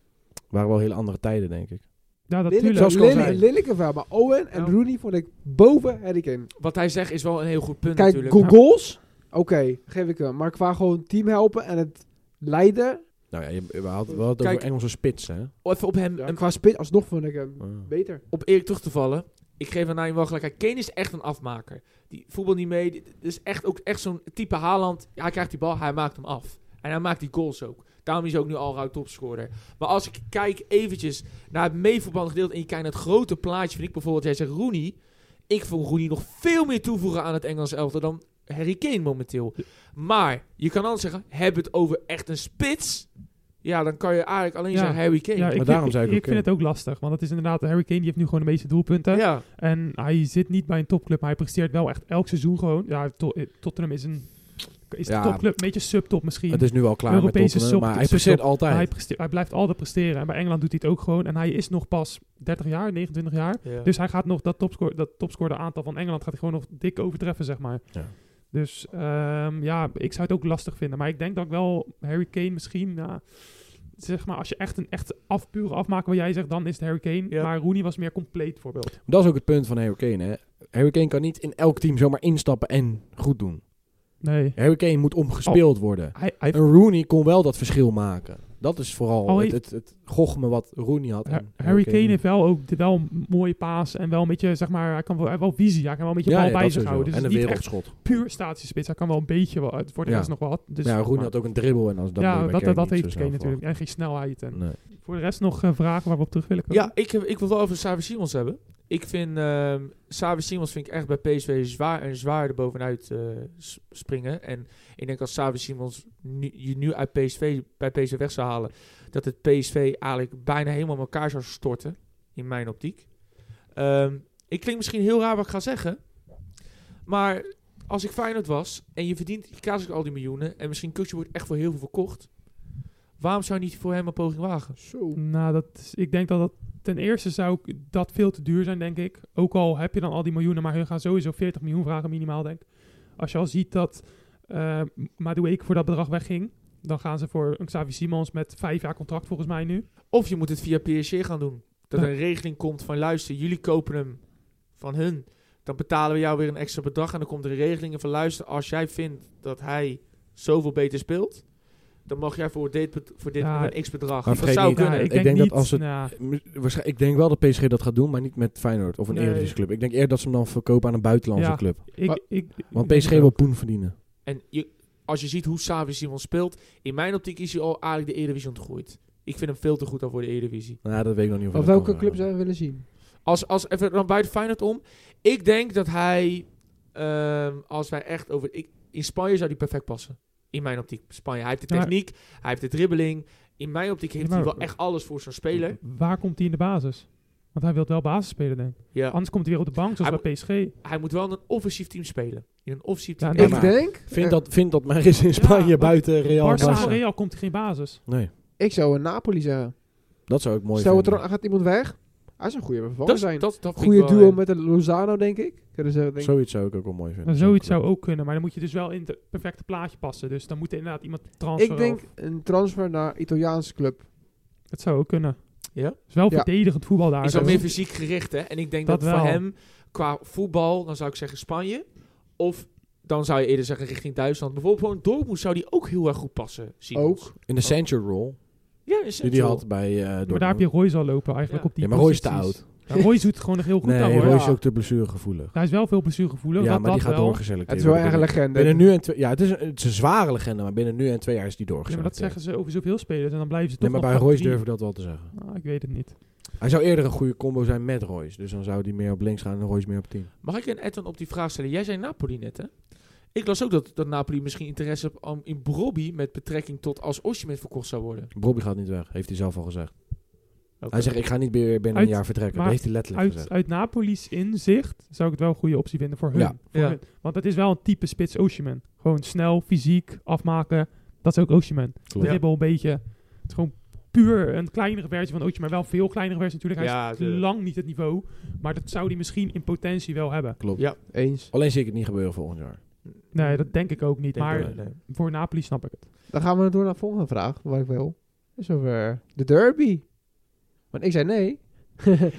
B: Waren wel hele andere tijden, denk ik.
C: Ja, dat
D: Lineker,
B: Zoals
C: tuurlijk.
B: ik al
D: Lineker,
B: zei.
D: Lineker wel, maar Owen en
A: Ja.
D: Rooney vond ik boven Harry Kane.
A: Wat hij zegt is wel een heel goed punt
D: Kijk,
A: natuurlijk.
D: go- goals, oké, geef ik hem. Maar qua gewoon team helpen en het leiden,
B: Nou ja, je, we hadden wel het
A: Kijk.
B: over Engelse spitsen. hè?
A: Even op hem...
D: en
A: een-
D: qua spits, alsnog vond ik hem
B: Ah.
D: beter.
A: Om Erik terug te vallen. Ik geef aan je wel gelijk. Kane is echt een afmaker. Die voetbal niet mee. Dit is echt ook echt zo'n type Haaland. Ja, hij krijgt die bal, hij maakt hem af. En hij maakt die goals ook. Daarom is hij ook nu al ruim topscorer. Maar als ik kijk eventjes naar het meevoetballende gedeelte... en je kijkt naar het grote plaatje, vind ik bijvoorbeeld... jij zegt Rooney. Ik vond Rooney nog veel meer toevoegen aan het Engelse elftal... dan Harry Kane momenteel. Maar je kan anders zeggen, heb het over echt een spits... Ja, dan kan je eigenlijk alleen
C: Ja.
A: zeggen Harry Kane.
C: Ja, ik,
B: Maar
C: vind-
B: daarom zei ik
C: ik,
B: ook, eh,
C: vind het ook lastig. Want het is inderdaad, Harry Kane die heeft nu gewoon de meeste doelpunten.
A: ja.
C: En hij zit niet bij een topclub, maar hij presteert wel echt elk seizoen gewoon. Ja, to- eh, Tottenham is een is
B: Ja.
C: de topclub, een beetje subtop misschien.
B: Ah. Het is nu al klaar met
C: Europese
B: Tottenham,
C: sub-
B: maar hij presteert
C: subtop. Maar
B: altijd.
C: hij, preste- hij blijft altijd presteren. En bij Engeland doet hij het ook gewoon. En hij is nog pas 30 jaar, 29 jaar.
A: Ja.
C: Dus hij gaat nog dat topscore, dat topscorer aantal van Engeland gaat hij gewoon nog dik overtreffen, zeg maar.
B: Ja.
C: Dus ehm, ja, ik zou het ook lastig vinden. Maar ik denk dat ik wel Harry Kane misschien, ja, zeg maar, als je echt een echt af, pure afmaken wat jij zegt, dan is het Harry Kane.
A: Ja.
C: Maar Rooney was meer compleet voorbeeld.
B: Dat is ook het punt van Harry Kane. Hè? Harry Kane kan niet in elk team zomaar instappen en goed doen.
C: Nee.
B: Harry Kane moet omgespeeld
C: Oh.
B: worden.
C: Hij, hij,
B: En Rooney kon wel dat verschil maken. Dat is vooral
C: Al
B: het,
C: heeft-
B: het, het gochme wat Rooney had. en
C: Oh, Ha- Harry Kane heeft wel ook de- wel een mooie paas en wel een beetje, zeg maar, hij kan wel, hij heeft wel visie. Hij kan wel een beetje
B: ja,
C: bal
B: ja,
C: bij
B: dat
C: zich
B: sowieso.
C: houden. Dus
B: en
C: het
B: een
C: is niet echt
B: wereldschot.
C: puur statische spits. Hij kan wel een beetje, wel, het wordt
B: Ja.
C: er nog wat. Dus,
B: ja, Rooney
C: maar-
B: had ook een dribbel. En als, dat moet
C: ja,
B: je bij
C: dat,
B: Kane
C: dat, dat
B: niet zo
C: heeft
B: snel
C: Kane natuurlijk. En geen snelheid. En
B: verwachten. Nee.
C: Voor de rest nog eh, vragen waar we op terug willen komen?
A: Ja, ik, heb- ik wil wel over Xavi Simons hebben. Ik vind ehm Xavi Simons vind ik echt bij PSV zwaar en zwaar er bovenuit eh, s- springen. En ik denk als Xavi Simons nu, je nu uit PSV, bij PSV weg zou halen, dat het PSV eigenlijk bijna helemaal in elkaar zou storten. In mijn optiek. Ehm, ik klink misschien heel raar wat ik ga zeggen. Maar als ik Feyenoord was en je verdient, je krijgt ook al die miljoenen en misschien Kutje wordt echt voor heel veel verkocht. Waarom zou je niet voor hem een poging wagen?
D: Zo.
C: Nou, dat is- ik denk dat dat ten eerste zou ik- dat veel te duur zijn, denk ik. Ook al heb je dan al die miljoenen, maar hun gaan sowieso 40 miljoen vragen minimaal, denk ik. Als je al ziet dat eh Madueke voor dat bedrag wegging, dan gaan ze voor een Xavi Simons met vijf jaar contract volgens mij nu.
A: Of je moet het via PSG gaan doen. Dat
C: Ja.
A: er een regeling komt van luister, jullie kopen hem van hun. Dan betalen we jou weer een extra bedrag. En dan komt er een regeling van luister, als jij vindt dat hij zoveel beter speelt, dan mag jij voor dit, bet- voor dit
C: Ja,
A: een x bedrag.
B: maar
A: Dat
B: vergeet
A: zou
B: niet,
A: kunnen.
C: Ja,
B: Ik denk dat als het-
C: nou,
B: Waarschijn- Ik denk wel dat PSG dat gaat doen, maar niet met Feyenoord of een
C: Nee.
B: Eredivisie club. Ik denk eerder dat ze hem dan verkopen aan een buitenlandse
C: Ja.
B: club.
C: ik,
D: Maar-
C: ik,
B: Want PSG wil poen verdienen.
A: En je, als je ziet hoe Savi Simon speelt, in mijn optiek is hij al eigenlijk de Eredivisie ontgroeid. Ik vind hem veel te goed al voor de Eredivisie.
B: Nou, dat weet ik nog niet. Of
D: Of
B: dat
D: welke
B: kan,
D: club
B: eh.
D: zou je willen zien?
A: Als, als even dan buiten Feyenoord om. Ik denk dat hij, ehm, als wij echt over... Ik, in Spanje zou hij perfect passen. In mijn optiek. Spanje. Hij heeft de
C: Maar-
A: techniek, hij heeft de dribbeling. In mijn optiek heeft
C: Ja, maar-
A: hij wel echt alles voor zo'n speler.
C: Waar komt hij in de basis? Want hij wil wel basis spelen, denk ik.
A: Ja.
C: Anders komt hij weer op de bank, zoals
A: Hij
C: bij PSG.
A: Hij moet wel in een offensief team spelen. In een offensief
C: Ja,
A: team.
C: nee,
A: Ja,
D: ik
B: maar-
D: denk,
B: Vind
D: eh,
B: dat, vind dat maar eens in Spanje
C: want
B: buiten Real
C: Barca en
B: Barça.
C: Real komt hij geen basis.
B: Nee,
D: ik zou een Napoli zeggen.
B: dat zou ik mooi
D: Stel, het
B: vinden.
D: er, gaat iemand weg? Hij zou een goede vervanger
A: dat,
D: zijn.
A: dat, dat vind
D: goede
A: ik wel,
D: duo
A: eh,
D: met de Lozano, denk ik. Kunnen ze, denk ik-
B: Zoiets zou ik ook wel mooi vinden.
C: Nou, zoiets zou ook kunnen, maar dan moet je dus wel in het perfecte plaatje passen. Dus dan moet er inderdaad iemand transferen.
D: Ik denk een transfer naar Italiaanse club.
C: Dat zou ook kunnen.
A: Ja?
C: Het is wel
D: Ja.
C: verdedigend voetbal daar.
A: is wel
C: Dus-
A: meer fysiek gericht, hè? En ik denk dat,
C: Dat
A: voor
C: wel.
A: hem, qua voetbal, dan zou ik zeggen Spanje. Of dan zou je eerder zeggen richting Duitsland. Bijvoorbeeld gewoon Dortmund zou die ook heel erg goed passen. Simons.
D: Ook.
B: In de Sancho role,
A: Ja, is
B: die
A: het
B: die
A: wel.
B: had bij eh
C: maar daar heb je Royce al lopen eigenlijk
A: Ja.
C: op die
B: Ja, maar Royce is te
C: posities.
B: oud.
C: Ja, Royce doet het gewoon nog heel goed aan
B: Nee,
C: hoor.
B: Roy is
D: Ja.
B: ook te blessuregevoelig.
C: Hij is wel veel blessuregevoelig.
B: Ja,
C: dat,
B: maar die
C: dat
B: gaat
C: wel.
B: doorgeselecteerd
D: Het is wel
B: worden.
D: echt een legende.
B: Binnen nu en twee, ja, het is, een, het is een zware legende, maar binnen nu en twee jaar is die
C: Ja, maar dat
B: doorgeselecteerd.
C: zeggen ze over zoveel spelers en dan blijven ze
B: Nee,
C: toch
B: maar bij
C: nog top
B: Royce
C: drie.
B: durf ik dat wel te zeggen.
C: Ah, ik weet het niet.
B: Hij zou eerder een goede combo zijn met Royce. Dus dan zou die meer op links gaan en Royce meer op 10.
A: Mag ik een Edwin op die vraag stellen? Jij zei Napoli net, hè? Ik las ook dat, dat Napoli misschien interesse heeft om- in Brobby met betrekking tot als Osimhen verkocht zou worden.
B: Bobby gaat niet weg, heeft hij zelf al gezegd.
A: Oké.
B: Hij zegt, ik ga niet meer binnen
C: Uit-
B: een jaar vertrekken.
C: maar
B: dat heeft hij letterlijk
C: Uit,
B: gezegd.
C: uit Napoli's inzicht zou ik het wel een goede optie vinden voor hun.
B: Ja.
C: Voor
A: Ja.
C: hun. Want het is wel een type spits Osimhen. Gewoon snel, fysiek, afmaken. Dat is ook Osimhen.
B: Klopt.
C: Dribbel een beetje. Het is gewoon puur een kleinere versie van Osimhen. Wel een veel kleinere versie natuurlijk. Hij
A: Ja,
C: is
A: de-
C: lang niet het niveau. Maar dat zou hij misschien in potentie wel hebben.
B: Klopt.
A: Ja.
D: Eens.
B: Alleen zie ik het niet gebeuren volgend jaar.
C: Nee, dat denk ik ook niet.
A: Denk
C: maar
A: ik wel, nee.
C: voor Napoli snap ik het.
D: Dan gaan we door naar de volgende vraag, wat ik wil. Is over de derby. Want ik zei nee.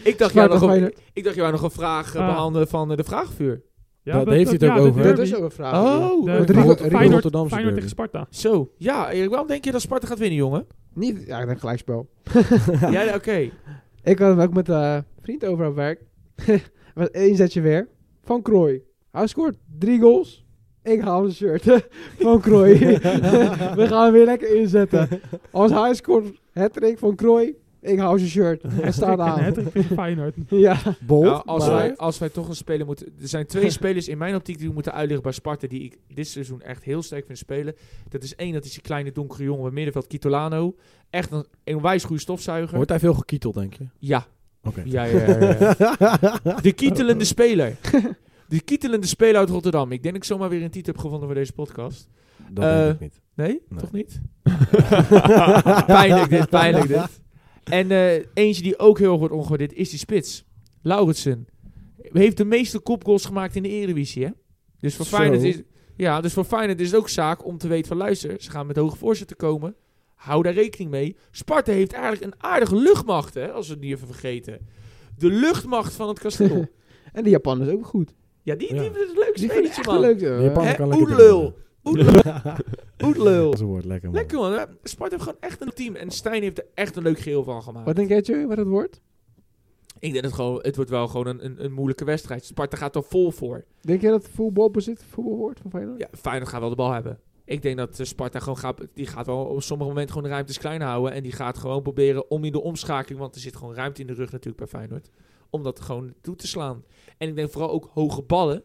A: Ik dacht, jou
D: Sparta
A: nog een,
D: Feyenoord.
A: ik dacht jou nog een vraag eh,
C: Ah.
A: behandelen van eh, de vraagvuur.
C: Ja,
B: Dat heeft hij het ook
C: de
B: over.
D: Dat
C: derby.
D: is ook een vraag. ja.
A: Oh,
C: Ah, De-
A: eh,
D: Rodrigo-
C: Feyenoord-
D: Rodrigo
C: Feyenoord,
B: Rotterdamse
C: Feyenoord tegen
B: derby.
C: Sparta.
A: zo. Ja, Erik, waarom denk je dat Sparta gaat winnen, jongen?
D: Niet, ja, een gelijkspel.
A: ja, oké.
D: Ik had hem ook met eh, een vriend over aan het werk. Met één zetje weer. Van Krooi. Hij scoort drie goals. Ik haal een shirt van Krooi. We gaan hem weer lekker inzetten. Als hij scoort, het van Krooi. Ik haal zijn shirt. Hij staat
C: En
D: aan.
C: het tegen Feyenoord.
D: Ja.
B: Bold,
A: Nou, als,
D: maar-
A: wij, als wij toch een speler moeten... Er zijn twee spelers in mijn optiek die we moeten uitleggen bij Sparta... die ik dit seizoen echt heel sterk vind spelen. Dat is één, dat is die kleine donkere jongen bij middenveld, Kitolano. Echt een, een onwijs goede stofzuiger.
B: Wordt hij veel gekieteld, denk je?
A: Ja.
B: Oké.
A: Ja, ja, ja, ja. De kietelende speler. De kietelende speler uit Rotterdam. Ik denk dat ik zomaar weer een titel heb gevonden voor deze podcast.
B: Dat
A: Eh,
B: denk ik niet.
A: Nee?
B: Nee.
A: Toch niet? pijnlijk dit, pijnlijk dit. En eh, eentje die ook heel erg wordt ongewaardeerd is die spits. Lauritsen. Heeft de meeste kopgoals gemaakt in de Eredivisie, hè? Dus voor,
B: Zo.
A: Feyenoord is, ja, dus voor Feyenoord is het ook zaak om te weten van... luister, ze gaan met hoge voorzetten komen. Hou daar rekening mee. Sparta heeft eigenlijk een aardige luchtmacht, hè? Als we het niet even vergeten. De luchtmacht van het kasteel.
D: En de Japan is ook goed.
A: ja, die, die
B: Ja.
A: dat is een leuk
D: Die vind ik
A: spelletje,
D: echt
A: man.
D: leuk.
B: De
D: eh.
B: Japaner
A: hè,
B: kan lekker
A: oedelul.
B: dribbelen.
A: Oedelul. Oedelul.
B: Dat is een woord, lekker man.
A: Lekker man, hè? Sparta heeft gewoon echt een team. En Stijn heeft er echt een leuk geheel van gemaakt.
D: Wat denk jij, Tjeu, wat het wordt?
A: Ik denk dat gewoon, het wordt wel gewoon een, een, een moeilijke wedstrijd. Sparta gaat er vol voor.
D: Denk jij dat voetbalbezit voetbal wordt van Feyenoord?
A: Ja, Feyenoord gaat wel de bal hebben. Ik denk dat eh, Sparta gewoon gaat, die gaat wel op sommige momenten gewoon de ruimtes klein houden. En die gaat gewoon proberen om in de omschakeling, want er zit gewoon ruimte in de rug natuurlijk bij Feyenoord. Om dat gewoon toe te slaan. En ik denk vooral ook hoge ballen.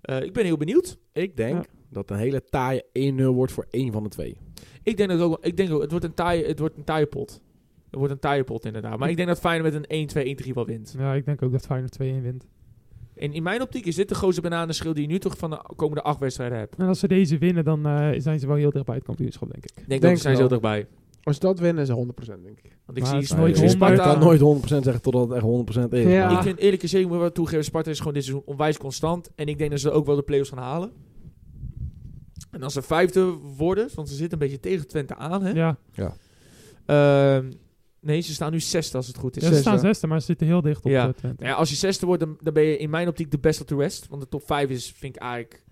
A: Eh, ik ben heel benieuwd.
B: Ik denk dat een hele taaie 1-0 wordt voor één van de twee.
A: Ik denk dat ook, ik denk ook het, wordt een taaie, het wordt een taaie pot. Het wordt een taaie pot inderdaad. Maar ik denk dat Feyenoord met een 1-2-1-3 wel wint.
C: Ja, ik denk ook dat Feyenoord 2-1 wint.
A: En in mijn optiek is dit de grootste bananenschil die je nu toch van de komende acht wedstrijden hebt.
C: En als ze deze winnen, dan eh, zijn ze wel heel dicht bij het kampioenschap, denk ik.
A: Ik denk,
D: Denk
A: dat zijn ze heel
D: wel.
A: dichtbij.
D: Als ze dat winnen, is het 100% denk ik.
A: Want ik
C: Maar
A: zie
C: het is
A: Sparta-
C: nooit
A: ik zie
B: Maar je
A: Sparta.
B: kan nooit 100% zeggen totdat het echt 100% is.
D: Ja.
B: Maar
A: Ik vind eerlijk gezegd, ik moet wel toegeven, Sparta is gewoon dit seizoen onwijs constant. En ik denk dat ze ook wel de play-offs gaan halen. En als ze vijfde worden, want ze zitten een beetje tegen Twente aan, hè?
C: Ja,
A: Ehm, nee, ze staan nu zesde als het goed is.
C: ja ze staan zesde, maar ze zitten heel dicht op
A: Ja.
C: eh, Twente.
A: Nou ja, als je zesde wordt, dan, dan ben je in mijn optiek de best of the rest. Want de top vijf is, vind ik eigenlijk...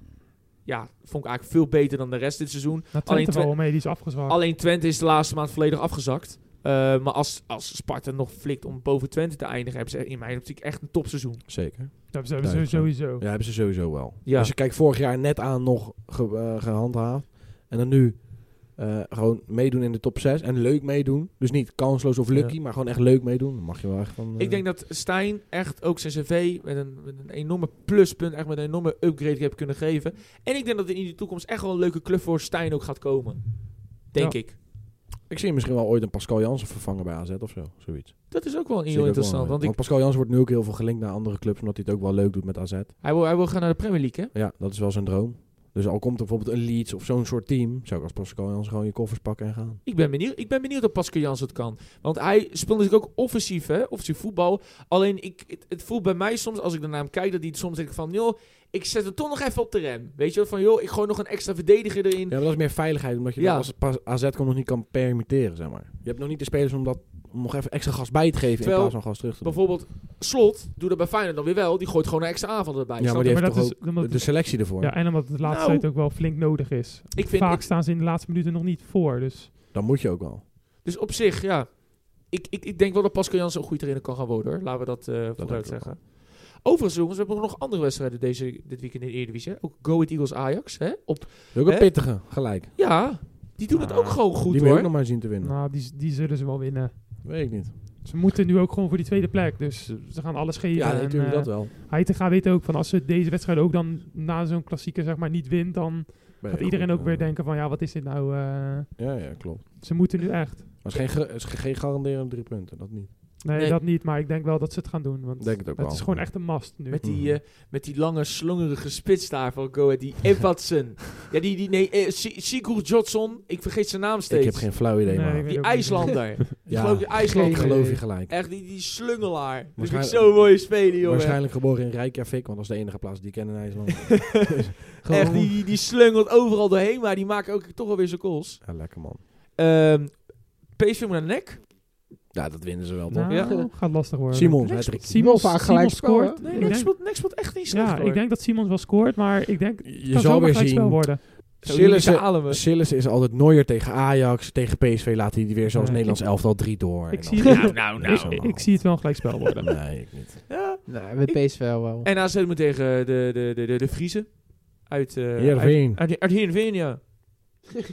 A: Ja, vond ik eigenlijk veel beter dan de rest dit seizoen. alleen
C: Nou, Twente
A: Twe-
C: wel mee, die is afgezwakt.
A: Alleen Twente is de laatste maand volledig afgezakt. Eh, maar als, als Sparta nog flikt om boven Twente te eindigen, hebben ze in mijn optiek echt een topseizoen.
B: Zeker.
C: dat hebben ze
B: Duidelijk,
C: sowieso.
B: Ja, hebben ze sowieso wel.
A: Ja.
B: Als je kijkt, vorig jaar net aan nog ge- eh, gehandhaafd. En dan nu eh, gewoon meedoen in de top 6. En leuk meedoen. Dus niet kansloos of lucky, maar gewoon echt leuk meedoen. Dan mag je wel echt van... eh,
A: Ik denk dat Stijn echt ook zijn cv met een, met een enorme pluspunt, echt met een enorme upgrade heeft kunnen geven. En ik denk dat er in de toekomst echt wel een leuke club voor Stijn ook gaat komen. Denk ik.
B: ik zie misschien wel ooit een Pascal Jansen vervangen bij AZ of zo. Zoiets.
A: Dat is ook wel
B: Zie ik ook
A: heel
B: wel
A: interessant.
B: mee.
A: Want ik,
B: Pascal Jansen wordt nu ook heel veel gelinkt naar andere clubs. Omdat hij het ook wel leuk doet met AZ.
A: hij, wil, hij wil gaan naar de Premier League, hè?
B: Ja, dat is wel zijn droom. Dus al komt er bijvoorbeeld een Leeds of zo'n soort team. Zou ik als Pascal Jansen gewoon je koffers pakken en gaan.
A: Ik ben benieuwd, ik ben benieuwd of Pascal Jans het kan. Want hij speelt natuurlijk ook offensief, hè? Offensief voetbal. Alleen, ik, het, het voelt bij mij soms, als ik daarnaar hem kijk, dat hij het soms denkt van... joh, ik zet het toch nog even op de rem. Weet je wel? Van, joh, ik gooi nog een extra verdediger erin.
B: Ja, maar dat is meer veiligheid, omdat je
A: Ja.
B: dat als het pas AZ komt nog niet kan permitteren, zeg maar. Je hebt nog niet de spelers om, dat, om nog even extra gas bij te geven
A: Terwijl-
B: in plaats van gas terug te doen.
A: Bijvoorbeeld, Slot doet dat bij Feyenoord dan weer wel. Die gooit gewoon een extra aanval erbij.
B: Ja,
A: Snap
B: maar
A: je?
B: die
C: Maar
B: heeft
C: dat
B: toch
C: is- omdat
B: ook de
C: het-
B: selectie ervoor.
C: Ja, en omdat het de laatste
A: Nou.
C: tijd ook wel flink nodig is.
A: Ik vind-
C: Vaak
A: ik-
C: staan ze in de laatste minuten nog niet voor, dus...
B: Dan moet je ook wel.
A: Dus op zich, ja. ik, ik, ik denk wel dat Pascal Jansen een goede trainer kan gaan worden. hoor. Laten we dat eh
B: denk ik
A: vooruit zeggen. Overigens, jongens, we hebben nog andere wedstrijden deze, dit weekend in de Eredivisie. hè. Ook Go Ahead Eagles Ajax. Hè? Op,
B: Ook een
A: Hè?
B: pittige, gelijk.
A: ja, die doen het
C: Ah,
A: ook gewoon goed
B: die wil ik
A: hoor.
B: ook nog maar zien te winnen.
C: Nou, die, die zullen ze wel winnen.
B: Weet ik niet.
C: Ze moeten nu ook gewoon voor die tweede plek. Dus ze gaan alles geven.
B: Ja,
C: En,
B: natuurlijk
C: eh,
B: dat wel.
C: Heitinga weet ook van als ze deze wedstrijd ook dan na zo'n klassieker zeg maar niet wint, dan
B: Ben
C: gaat
B: je
C: iedereen
B: goed,
C: ook weer
B: eh,
C: denken van ja, wat is dit nou? eh,
B: Ja, ja, klopt.
C: ze moeten nu echt.
B: Maar het is geen, ge- het is geen garanderende drie punten, dat niet.
C: Nee,
A: Nee.
C: dat niet, maar ik denk wel dat ze het gaan doen. Want
B: Denk het ook wel.
C: is gewoon echt een mast nu.
A: Met die,
B: Mhm.
A: eh, met die lange, slongerige spits daar van Go Ahead. Die Edvardsen. ja, die, die nee, eh, Si- Sigurd Johnson. Ik vergeet zijn naam steeds.
B: Ik heb geen flauw idee,
C: Nee,
B: maar
C: ik weet
A: Die
C: ook niet.
A: IJslander.
B: Ja.
A: ja. Geloof je,
B: ik
A: IJslander.
D: Geen-
C: Eh,
B: geloof je gelijk.
A: Echt, die, die slungelaar. Dat vind ik
B: Waarschijn-
A: zo'n mooie spelen, jongen.
B: Waarschijnlijk
C: eh.
B: geboren in Reykjavik, want dat is de enige plaats die ik ken in IJsland.
D: Gewoon-
A: Echt, die, die, die slungelt overal doorheen, maar die maken ook toch wel weer zijn goals.
B: ja, lekker man.
A: Ehm PSV moet naar nek.
B: Ja, dat winnen ze wel, toch?
C: Nou,
D: Ja.
C: gaat lastig worden.
B: Simons,
A: Lex-
B: Patrick.
C: Simons,
D: Wel vaak
C: Simons
D: gelijkspel, hè?
C: scoort.
A: Nee,
C: Ik
A: nek
C: denk-
A: speelt, nek speelt echt niet slecht,
C: ja,
A: hoor.
C: ik denk dat Simons wel scoort, maar ik denk
B: Je
C: kan
B: zal
C: zomaar
B: weer
C: gelijkspel
B: zien.
C: worden.
A: Zo,
B: Sillis-
A: jullie zalen we.
B: Sillis is altijd Neuer tegen Ajax. Tegen PSV laat hij die weer zoals
C: Nee,
B: Nederlands elftal drie door.
C: Ik
B: En dan-
C: zie, het,
A: nou,
B: nou.
C: ik, ik zie het wel een gelijkspel worden.
B: Nee, ik niet.
A: Ja.
D: Nee, met PSV wel.
A: En AZ moet tegen de, de, de, de, de Vriezen. Uit, eh uit,
B: Heerenveen.
A: uit, uit Heerenveen, ja.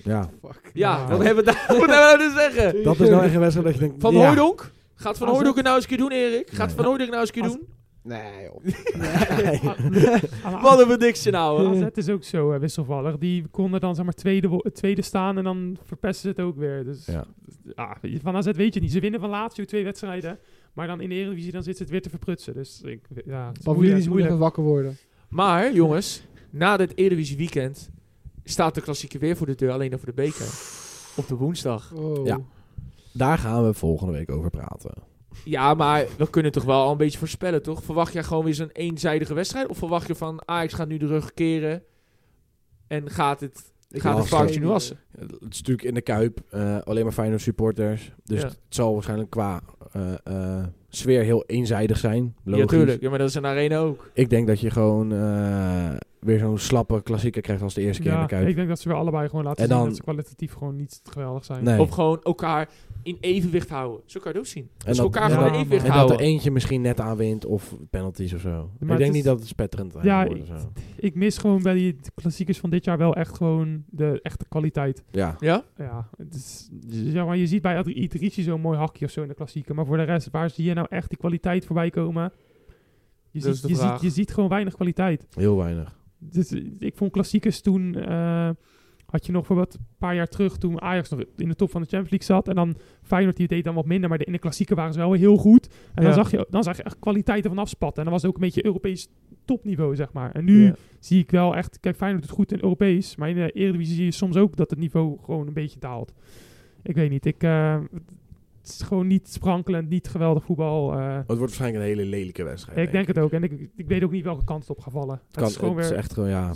B: Ja,
A: Ja,
C: Nou.
A: wat hebben we daar wat hebben we nou te zeggen?
B: dat is nou echt een wedstrijd dat je denkt...
A: Van
B: ja.
A: Hooydonk? Gaat Van
C: Als
A: Hooydonk het nou eens een keer doen, Erik? Gaat
B: Nee.
A: Van Hooydonk nou eens een keer
C: Als-
A: doen?
D: Nee, joh.
C: Aan de
A: Wat een predictie nou, hè?
C: AZ is ook zo eh, wisselvallig. Die konden dan zeg maar tweede, wo- tweede staan en dan verpesten ze het ook weer. Dus
B: Ja.
C: ja, van AZ weet je niet. Ze winnen van Lazio twee wedstrijden. Maar dan in de Eredivisie dan zit ze het weer te verprutsen. Dus ik, ja, het is moeilijk.
D: Pavlidis
C: is
D: moet
C: moeilijk.
D: even wakker worden.
A: Maar, jongens, na dit Eredivisie weekend staat de klassieker weer voor de deur, alleen dan voor de beker. Op de woensdag.
D: Oh.
B: Ja. Daar gaan we volgende week over praten.
A: Ja, maar we kunnen toch wel al een beetje voorspellen, toch? Verwacht jij gewoon weer zo'n eenzijdige wedstrijd? Of verwacht je van Ajax gaat nu de rug keren en gaat het, gaat het
B: Lastig.
A: foutje nu wassen?
B: Het is natuurlijk in de Kuip. eh, alleen maar Feyenoord supporters. Dus
A: Ja.
B: het zal waarschijnlijk qua eh, eh, sfeer heel eenzijdig zijn.
A: Ja,
B: Logisch.
A: tuurlijk. Ja, maar dat is een arena ook.
B: Ik denk dat je gewoon eh, weer zo'n slappe klassieker krijgt als de eerste keer in de
C: Ja,
B: Kuip.
C: ik denk dat ze weer allebei gewoon laten
B: En
C: zien
B: dan-
C: dat ze kwalitatief gewoon niet geweldig zijn.
B: Nee.
A: Of gewoon elkaar in evenwicht houden. Zo kan je het ook zien.
B: En
A: Dus
B: dat-
A: elkaar
C: ja,
A: gewoon in
C: man.
A: evenwicht
B: en dat er
A: houden.
B: eentje misschien net aan wint of penalties of zo.
C: Maar
B: ik
C: het
B: denk
C: is-
B: niet dat het spetterend gaat
C: Ja,
B: worden. Zo.
C: Ik mis gewoon bij die klassiekers van dit jaar wel echt gewoon de echte kwaliteit.
B: Ja.
A: Ja?
C: Ja, het is, zeg maar, je ziet bij Adri- Idrissi zo'n mooi hakje of zo in de klassieker. Maar voor de rest, waar zie je nou echt die kwaliteit voorbij komen? Je,
A: Dat is
C: ziet,
A: de
C: je,
A: vraag.
C: ziet, je ziet gewoon weinig kwaliteit.
B: heel weinig.
C: Dus, eh, ik vond klassiekers toen... eh, had je nog voor wat een paar jaar terug toen Ajax nog in de top van de Champions League zat. En dan Feyenoord die deed dan wat minder. Maar de, in de klassieker waren ze wel heel goed. En dan,
A: Ja.
C: zag je, dan zag je echt kwaliteiten van afspatten. En dan was het ook een beetje Europees topniveau, zeg maar. En nu
A: Ja.
C: zie ik wel echt... Kijk, Feyenoord doet goed in Europees. Maar in de Eredivisie zie je soms ook dat het niveau gewoon een beetje daalt. Ik weet niet. Ik, eh, het is gewoon niet sprankelend, niet geweldig voetbal. eh.
B: Het wordt waarschijnlijk een hele lelijke wedstrijd.
C: ik denk het ook. En ik, ik weet ook niet welke kant het op gaat vallen. Het,
B: Het, kan,
C: is gewoon
B: het
C: weer...
B: is echt gewoon, ja,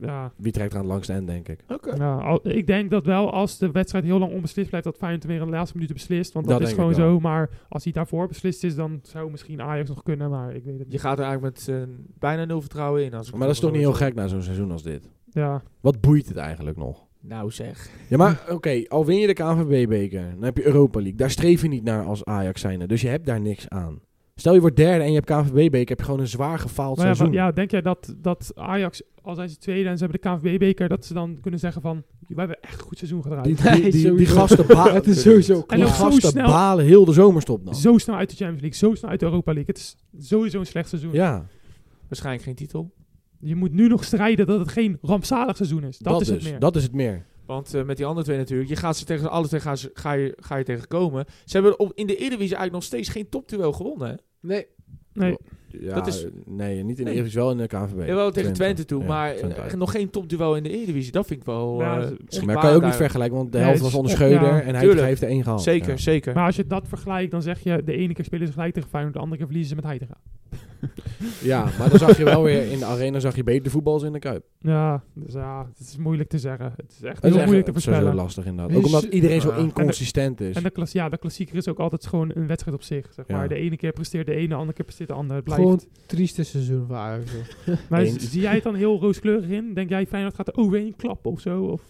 C: ja,
B: wie trekt er aan het langste end, denk ik.
C: ja, al- ik denk dat wel als de wedstrijd heel lang onbeslist blijft... dat Feyenoord hem weer in de laatste minuten beslist. Want dat,
B: Dat
C: is
B: denk ik
C: gewoon
B: wel.
C: zo. Maar als hij daarvoor beslist is... dan zou misschien Ajax nog kunnen. Maar ik weet het
A: Je
C: niet.
A: gaat er eigenlijk met eh, bijna nul vertrouwen in. Als ik
B: Maar dat
A: het
B: is toch
A: zo
B: niet heel
A: moet
B: gek na zo'n seizoen als dit?
C: Ja,
B: Wat boeit het eigenlijk nog?
A: zeggen. Nou zeg.
B: Ja, maar
C: Hm.
B: oké, al win je de KNVB-beker, dan heb je Europa League. Daar streef je niet naar als Ajax zijnde, dus je hebt daar niks aan. Stel je wordt derde en je hebt KNVB-beker, heb je gewoon een zwaar gefaald
C: Maar ja,
B: seizoen.
C: wa- ja, denk jij dat, dat Ajax, al zijn ze tweede en ze hebben de KNVB-beker... dat ze dan kunnen zeggen van... we hebben echt een goed seizoen gedraaid.
B: Die,
D: Nee,
B: die, die, die
D: sowieso.
B: gasten balen.
D: Het is sowieso
B: Die
C: ook
D: klaar.
C: zo
B: gasten
C: snel.
B: balen heel de zomerstop dan.
C: Zo snel uit de Champions League, zo snel uit de Europa League. Het is sowieso een slecht seizoen.
B: Ja,
A: Waarschijnlijk geen titel.
C: Je moet nu nog strijden dat het geen rampzalig seizoen is. Dat, is
B: dus.
C: het meer.
B: Dat is het meer.
A: Want eh, met die andere twee natuurlijk. Je gaat ze tegen alle twee gaan ze- ga je, ga je tegenkomen. Ze hebben op, in de Eredivisie eigenlijk nog steeds geen topduel gewonnen. Hè?
D: Nee,
C: nee,
B: Ja,
A: Dat is-
B: nee, niet in de
A: Nee.
B: Eredivisie, wel in de KNVB.
A: Jawel, tegen Twente toe.
B: Ja,
A: maar
B: Twente
A: eh,
B: uit.
A: nog geen topduel in de Eredivisie. Dat vind ik wel...
C: Ja,
A: eh,
C: dat is-
B: maar dat kan je ook niet
A: daar-
B: vergelijken, want de
C: Nee,
B: helft
C: het
B: was
C: is
B: onder
C: op-
B: Scheuder
C: ja.
B: en hij
A: Tuurlijk.
B: heeft er één gehaald.
A: Zeker,
B: Ja.
A: zeker.
C: maar als je dat vergelijkt, dan zeg je de ene keer spelen ze gelijk tegen Feyenoord, de andere keer verliezen ze met Heitinga.
B: Ja, maar dan zag je wel weer in de arena zag je beter voetbal als in de Kuip.
C: Ja, dus ja, het is moeilijk te zeggen. Het is
B: Dat
C: echt heel
B: is echt
C: moeilijk te
B: dat is sowieso
C: voorspellen.
B: lastig inderdaad.
D: Wie
B: Ook omdat
D: is-
B: iedereen zo
A: Ja.
B: inconsistent is.
C: En de, klas, ja, de klassieker is ook altijd gewoon een wedstrijd op zich. Zeg maar.
B: Ja.
C: De ene keer presteert de ene, de andere keer presteert de ander. Het blijft.
D: gewoon trieste seizoen voor Ajax. joh.
C: maar
B: Eens.
C: zie jij het dan heel rooskleurig in? Denk jij Feyenoord gaat er overheen klappen of zo? Of?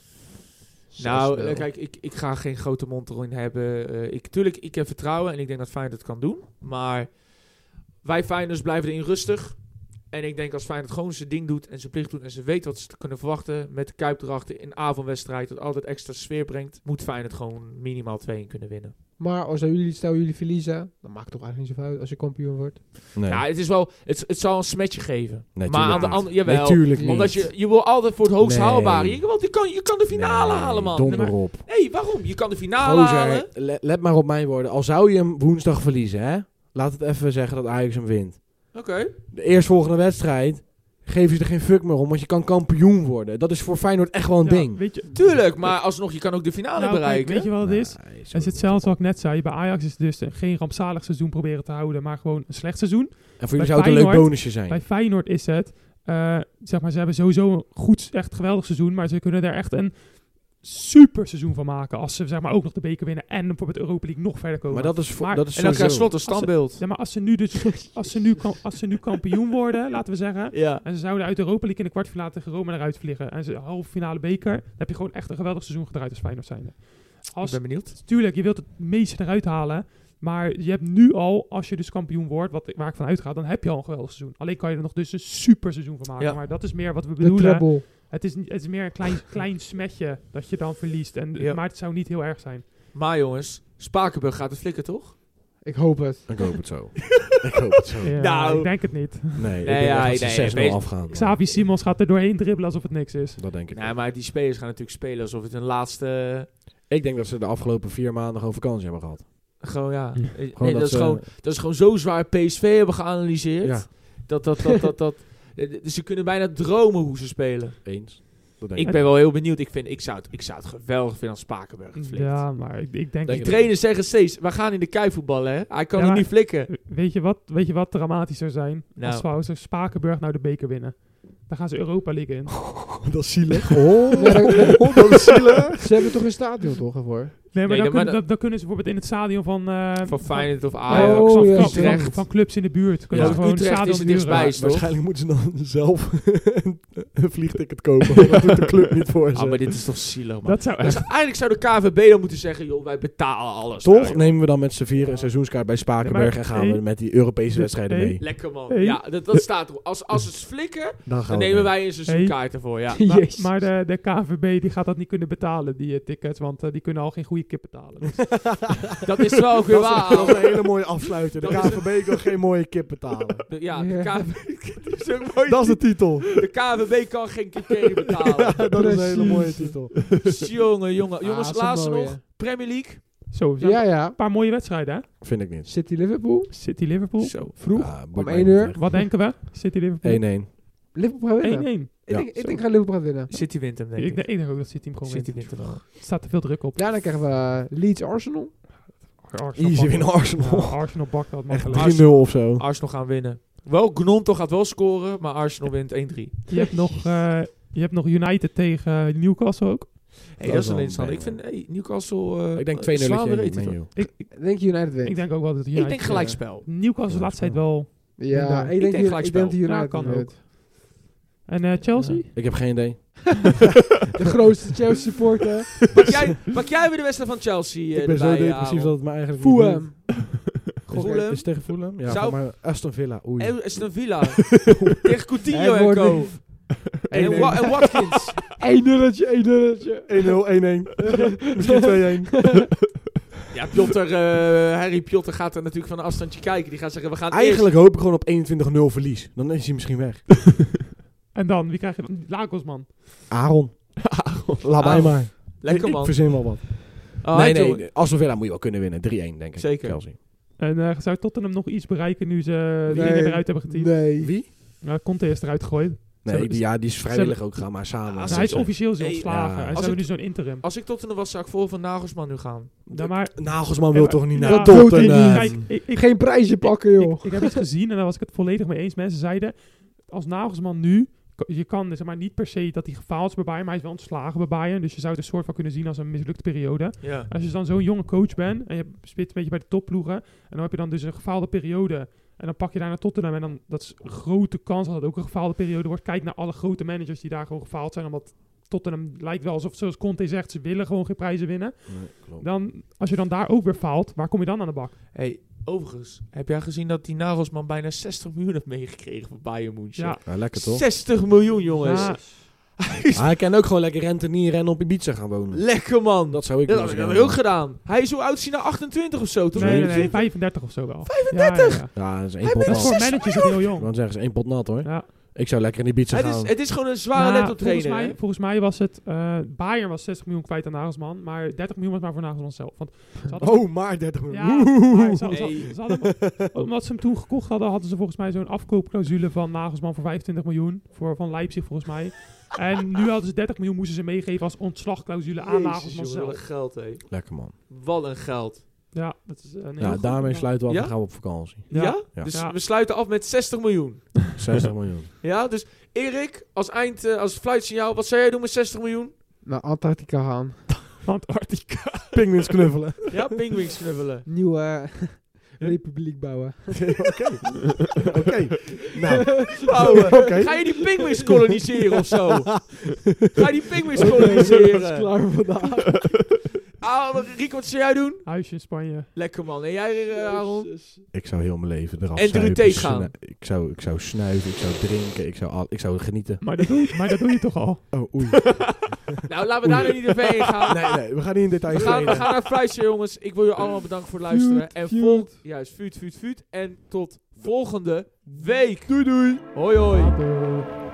A: Nou,
B: €6
A: eh, kijk, ik, ik ga geen grote mond erin hebben. Eh, ik, tuurlijk, ik heb vertrouwen en ik denk dat Feyenoord het kan doen. Maar wij Feyenoorders blijven erin rustig. En ik denk als Feyenoord gewoon zijn ding doet en zijn plicht doet... en ze weet wat ze te kunnen verwachten met de Kuip erachter... in avondwedstrijd, dat altijd extra sfeer brengt... moet Feyenoord gewoon minimaal 2-1 kunnen winnen.
D: Maar als nou jullie, stel jullie verliezen, dan maakt het toch eigenlijk niet zoveel uit als je kampioen wordt.
B: Nee,
A: Ja, het is wel... Het, het zal een smetje geven.
B: Nee,
A: maar aan
B: tuurlijk
A: de
B: niet.
A: andere... Jawel.
B: natuurlijk
D: niet.
A: omdat je, je wil altijd voor het hoogst
B: Nee.
A: haalbare. Je, want je kan, je kan de finale
B: Nee,
A: halen, man. Nee,
B: Donder
A: maar-
B: op.
A: hey, waarom? Je kan de finale halen.
B: Gozer, le- let maar op mijn woorden. Al zou je hem woensdag verliezen, hè? Laat het even zeggen dat Ajax hem wint.
A: Oké.
B: De eerstvolgende wedstrijd geef je er geen fuck meer om, want je kan kampioen worden. Dat is voor Feyenoord echt wel een
C: Ja,
B: ding.
C: Weet je,
A: Tuurlijk, maar alsnog, je kan ook de finale
C: nou, kijk,
A: bereiken.
C: weet je wat het is?
B: Nee,
C: Het is
B: sorry.
C: hetzelfde wat ik net zei. Bij Ajax is het dus een- geen rampzalig seizoen proberen te houden, maar gewoon een slecht seizoen.
B: En voor jullie
C: bij
B: zou het een leuk
C: Feyenoord-
B: bonusje zijn.
C: Bij Feyenoord is het, eh, zeg maar, ze hebben sowieso een goed, echt geweldig seizoen, maar ze kunnen daar echt een super seizoen van maken als ze zeg maar ook nog de beker winnen en bijvoorbeeld Europa League nog verder komen.
B: Maar dat is, voor,
C: Maar-
B: dat is
A: en dan krijg je
B: sowieso-
A: slot een standbeeld.
C: Ja, maar als ze nu dus, als ze nu, kam- als ze nu kampioen worden, laten we zeggen,
A: Ja.
C: en ze zouden uit de Europa League in de kwartfinale tegen Roma eruit vliegen en ze halve finale beker, dan heb je gewoon echt een geweldig seizoen gedraaid als Feyenoord zijnde.
A: Ik
C: Als
A: ben benieuwd.
C: Tuurlijk, je wilt het meeste eruit halen. Maar je hebt nu al, als je dus kampioen wordt, wat, waar ik van uitga, dan heb je al een geweldig seizoen. Alleen kan je er nog dus een super seizoen van maken.
A: Ja.
C: Maar dat is meer wat we
D: De
C: bedoelen.
D: treble.
C: Het is, niet- het is meer een klein, klein smetje dat je dan verliest. En,
A: Ja.
C: Maar het zou niet heel erg zijn.
A: Maar jongens, Spakenburg gaat het flikken, toch?
D: Ik hoop het.
B: Ik hoop het zo. ik hoop het zo.
C: Ja,
A: Nou.
C: Ik denk het niet.
B: Nee, ik
A: Nee,
B: denk
A: ja,
B: echt dat
A: nee,
B: ze 6-0
A: nee,
B: afgaan.
C: Xavi Simons gaat er doorheen dribbelen alsof het niks is.
B: Dat denk ik.
A: Nee, maar die spelers gaan natuurlijk spelen alsof het een laatste...
B: Ik denk dat ze de afgelopen vier maanden gewoon vakantie hebben gehad.
A: Gewoon, ja.
C: Hm.
A: Eh,
B: Gewoon
A: Nee, dat, is
B: ze-
A: gewoon, dat is gewoon zo zwaar PSV hebben geanalyseerd.
B: Ja.
A: Dat, dat, dat, dat, dat... eh, Ze kunnen bijna dromen hoe ze spelen.
B: Eens. Dat denk ik.
A: Ik ben wel heel benieuwd. Ik, vind, ik, zou, het, ik zou het geweldig vinden als Spakenburg het flikt.
C: Ja, maar ik, ik denk...
B: Denk
A: Die trainers zeggen steeds, we gaan in de kei voetballen, hè. Hij kan
C: Ja,
A: het
C: maar-
A: niet flikken.
C: Weet je wat, weet je wat dramatisch zou zijn?
A: Nou.
C: Als Als zou Spakenburg nou de beker winnen. Dan gaan ze Europa League in.
B: Dat is zielig.
D: Oh, maar dan-
B: Dat is zielig.
D: ze hebben toch een stadion toch ervoor?
C: Nee, maar
A: Nee,
C: dan,
A: dan- maar
C: kunnen, dan, dan kunnen ze bijvoorbeeld in het stadion van... eh,
A: Van Feyenoord of
C: Ja,
A: Ajax.
D: Oh,
C: van,
D: ja,
C: van-
A: Utrecht.
C: van- van clubs in de buurt. Kunnen
B: Ja.
C: ze gewoon
A: Utrecht
C: een
A: is
C: stadion
A: het dichtstbij.
C: huren.
A: is toch?
B: waarschijnlijk moeten ze dan zelf een vliegticket kopen. want Dat doet de club niet voor ze.
A: Ah, maar dit is toch zielig, man.
C: Dat zou
A: Dus
C: echt...
A: eigenlijk zou de KVB dan moeten zeggen, joh, wij betalen alles.
B: Toch
A: Nou, joh.
B: nemen we dan met z'n vieren een seizoenskaart bij
C: Nee,
B: Spakenburg
C: maar-
B: en gaan we
C: nee.
B: met die Europese
C: Nee.
B: wedstrijden mee.
A: Lekker man.
C: Hey.
A: Ja, dat, dat staat erop. Als, als het flikken,
B: Dan, gaan
A: dan
B: we
A: nemen
B: mee.
A: wij een seizoenkaart ervoor, ja.
C: Maar,
D: Jezus.
C: maar de, de KVB die gaat dat niet kunnen betalen, die eh, tickets. Want eh, die kunnen al geen goede kip betalen. Dus
A: Dat is wel ook weer
B: Dat is- dat is een
A: waar.
B: hele mooie afsluiter. De
A: Dat is-
B: KVB kan geen mooie kip betalen.
A: De- Ja, de
D: Ja.
A: KVB, dat is ook mooi.
B: Dat is de titel.
A: de KVB kan geen kriteria betalen. Dus
B: Ja, dat is een hele
D: Precies.
B: mooie titel.
A: jongen, jongen.
D: Ah,
A: Jongens,
D: dat is een
A: laatste
D: mooie.
A: nog. Premier League.
C: zo, we zijn
D: Ja, ja.
C: een paar mooie wedstrijden, hè?
B: Vind ik niet.
D: City Liverpool.
C: City Liverpool.
A: Zo.
C: Vroeg.
B: Ah, boeit mij
D: één
B: niet
D: uur.
B: echt.
C: Wat denken we? City Liverpool.
B: 1-1.
C: 1-1.
D: Liverpool gaat winnen. Ik,
B: Ja,
D: denk, ik
B: zo.
D: denk gaan Liverpool gaat winnen.
A: City wint hem, denk
C: Ik,
A: ik.
C: denk- ik denk ook dat City hem gewoon
A: City
C: wint.
A: wint hem wel.
C: Er staat te veel druk op.
D: Daarna krijgen we eh, Leeds Arsenal.
C: Arsenal
B: Easy
C: pakt
B: win
C: dat.
B: Arsenal.
C: Ja, Arsenal bakt dat
B: Echt
C: makkelijk.
B: 3-0 of zo.
A: Arsenal gaan winnen. Wel, Gnonto gaat wel scoren, maar Arsenal wint 1-3.
C: Je hebt, nog, eh, je hebt nog United tegen Newcastle ook.
A: Hey, dat is wel
B: wel een
A: interessant. Ik vind
B: banger.
A: hey, Newcastle... eh,
B: Ik denk 2-0
A: slaande
B: dat je
A: rating,
B: Man
A: hoor.
B: U.
D: Ik denk United wint.
C: Ik denk ook wel dat United...
A: Ik denk gelijkspel.
C: eh, Newcastle
B: Ja,
C: laatst tijd wel... Ik
D: ja, ik denk,
A: denk
D: Uni- ik
A: gelijkspel.
D: denk dat United
C: Ja, Nou, kan
D: wint.
C: En eh, Chelsea?
B: Ik heb geen idee.
D: De grootste Chelsea supporter.
A: Pak jij, pak jij weer de wedstrijd van Chelsea eh,
B: Ik ben zo
A: erbij, eh,
B: depressief
A: Aaron.
B: dat het me eigenlijk niet boeit.
D: Fulham.
B: Is-
A: Fulham?
B: Is het tegen Fulham? Ja,
A: Zou-
B: maar Aston Villa. Oei.
A: Eh, Aston Villa. Tegen Coutinho
D: Het
A: en
D: wordt
A: co.
D: niet.
A: En,
D: nee.
A: Wa- en Watkins.
D: 1 nulletje, 1 nulletje.
B: 1-0, 1-1. Misschien 2-1.
A: ja, Piotr, eh, Harry Piotr gaat er natuurlijk van een afstandje kijken. Die gaat zeggen, we gaan
B: Eigenlijk hoop ik gewoon op 21-0 verlies. Dan is hij misschien weg.
C: En dan, wie krijg je dan? Lagosman.
B: Aaron.
A: Ah,
B: Laat mij
A: Aaron.
B: maar.
A: eerst. Lekker
B: Ik-
A: man.
B: Ik verzin wel wat.
A: Ah,
B: nee,
A: jongen.
B: nee. Aston Villa moet je wel kunnen winnen. 3-1 denk ik.
A: Zeker.
B: Chelsea.
C: En eh, zou Tottenham nog iets bereiken nu ze die
D: Nee.
C: dingen eruit hebben geteamd?
D: Nee.
B: Wie?
C: Nou, Conte is eruit gegooid.
B: Nee, die, ja, die is vrijwillig ook gaan, maar
A: Ah,
B: samen.
A: als
C: hij is officieel zo
A: Hey,
C: ontslagen.
B: ja.
C: En
B: Als
C: ze hebben nu
A: het- Oh,
C: zo'n interim.
A: Als ik Tottenham was, zou ik voor van Nagelsman nu gaan.
C: Ja, maar,
B: Nagelsman wil
C: Ja,
B: toch niet
C: ja,
B: naar
C: dat
D: doet hij
B: Tottenham?
D: niet.
C: kijk, ik, ik,
D: Geen prijzen pakken, joh.
C: ik, ik heb iets gezien en daar was ik het volledig mee eens. Mensen zeiden, als Nagelsman nu... Je kan zeg maar, niet per se dat hij gefaald is bij Bayern, maar hij is wel ontslagen bij Bayern. Dus je zou het een soort van kunnen zien als een mislukte periode.
A: Ja.
C: Als je dan zo'n jonge coach bent en je spit een beetje bij de topploegen. En dan heb je dan dus een gefaalde periode. En dan pak je daar naar Tottenham. En dan dat is een grote kans dat het ook een gefaalde periode wordt. Kijk naar alle grote managers die daar gewoon gefaald zijn. Omdat Tottenham lijkt wel alsof, zoals Conte zegt, ze willen gewoon geen prijzen winnen.
B: Nee, klopt.
C: Dan, als je dan daar ook weer faalt, waar kom je dan aan de bak?
A: Hey, overigens, heb jij gezien dat die Nagelsman bijna 60 miljoen heeft meegekregen voor Bayern München?
C: Ja,
B: Ja, lekker toch? Ah.
A: 60 miljoen, jongens.
C: Ja,
B: Maar hij kan ook gewoon lekker rentenieren en op Ibiza gaan wonen.
A: Lekker, man. Dat,
B: Dat zou ik
A: dat
B: wel
A: had ik
B: zeggen.
A: dan ook gedaan. Hij is hoe oud is hij nou? 28 of zo? Toch?
C: nee, nee, nee,
A: 29?
C: 35 of zo wel. 35?
B: Ja, dat is één
A: Hij
B: pot
C: Dat is voor
B: nat.
A: Zes
C: managers is het heel jong.
B: Dan zeggen ze één pot nat hoor.
C: Ja.
B: Ik zou lekker in Ibiza
A: Het
B: gaan.
A: is, het is gewoon een zware
C: Nou,
A: nou,
C: volgens, mij, volgens mij was het... eh Bayern was 60 miljoen kwijt aan Nagelsman. Maar 30 miljoen was maar voor Nagelsman zelf. Want ze hadden-
B: Oh, maar 30 miljoen.
C: Ja, maar ze-
A: Nee.
C: ze- ze hadden- omdat ze hem toen gekocht hadden, hadden ze volgens mij zo'n afkoopclausule van Nagelsman voor 25 miljoen. Voor, van Leipzig volgens mij. En nu hadden ze 30 miljoen, moesten ze meegeven als ontslagclausule aan Nagelsman
A: Wat een
C: zelf.
A: geld, hé.
B: Lekker man.
A: Wat een geld.
C: Ja, dat is eh, een heel
B: Ja,
C: goed
B: daarmee
C: plan.
B: sluiten we af
A: Ja?
B: en gaan we op vakantie.
A: Ja?
B: Ja.
A: Dus
C: Ja.
A: we sluiten af met 60 miljoen.
B: 60 miljoen.
A: Ja, dus Erik, als eind, eh, als fluitsignaal, wat zou jij doen met 60 miljoen?
D: Naar Antarctica gaan.
C: Antarctica.
B: Pingwins knuffelen.
A: Ja, pinguïns knuffelen.
D: Nieuwe eh, republiek bouwen.
B: Oké. Nou,
A: Bouwen.
B: Oké.
A: Ga je die pinguïns koloniseren of zo? Ga je die pinguïns
D: Dat is
A: koloniseren?
D: klaar vandaag.
A: Ah, maar Rico, wat zou jij doen?
C: Huisje in Spanje.
A: Lekker man. En jij, eh, Aaron?
D: Jezus.
B: ik zou heel mijn leven eraf
A: En
B: zuipen,
A: Drutee gaan.
B: snu- Ik zou, ik zou snuiven, ik zou drinken, ik zou, al, ik zou genieten.
C: Maar dat, doe je, maar dat doe je toch al?
B: Oh, oei.
A: Nou, laten we daar nu niet verder heen gaan.
B: nee, nee, we gaan niet in detail
A: We gaan, we
B: treden.
A: gaan naar Fluitje, jongens. Ik wil jullie allemaal bedanken voor het luisteren. En
C: vuut.
A: vol, juist, vuut, vuut, vuut. En tot volgende week. Doei, doei. Hoi, hoi.
C: Later.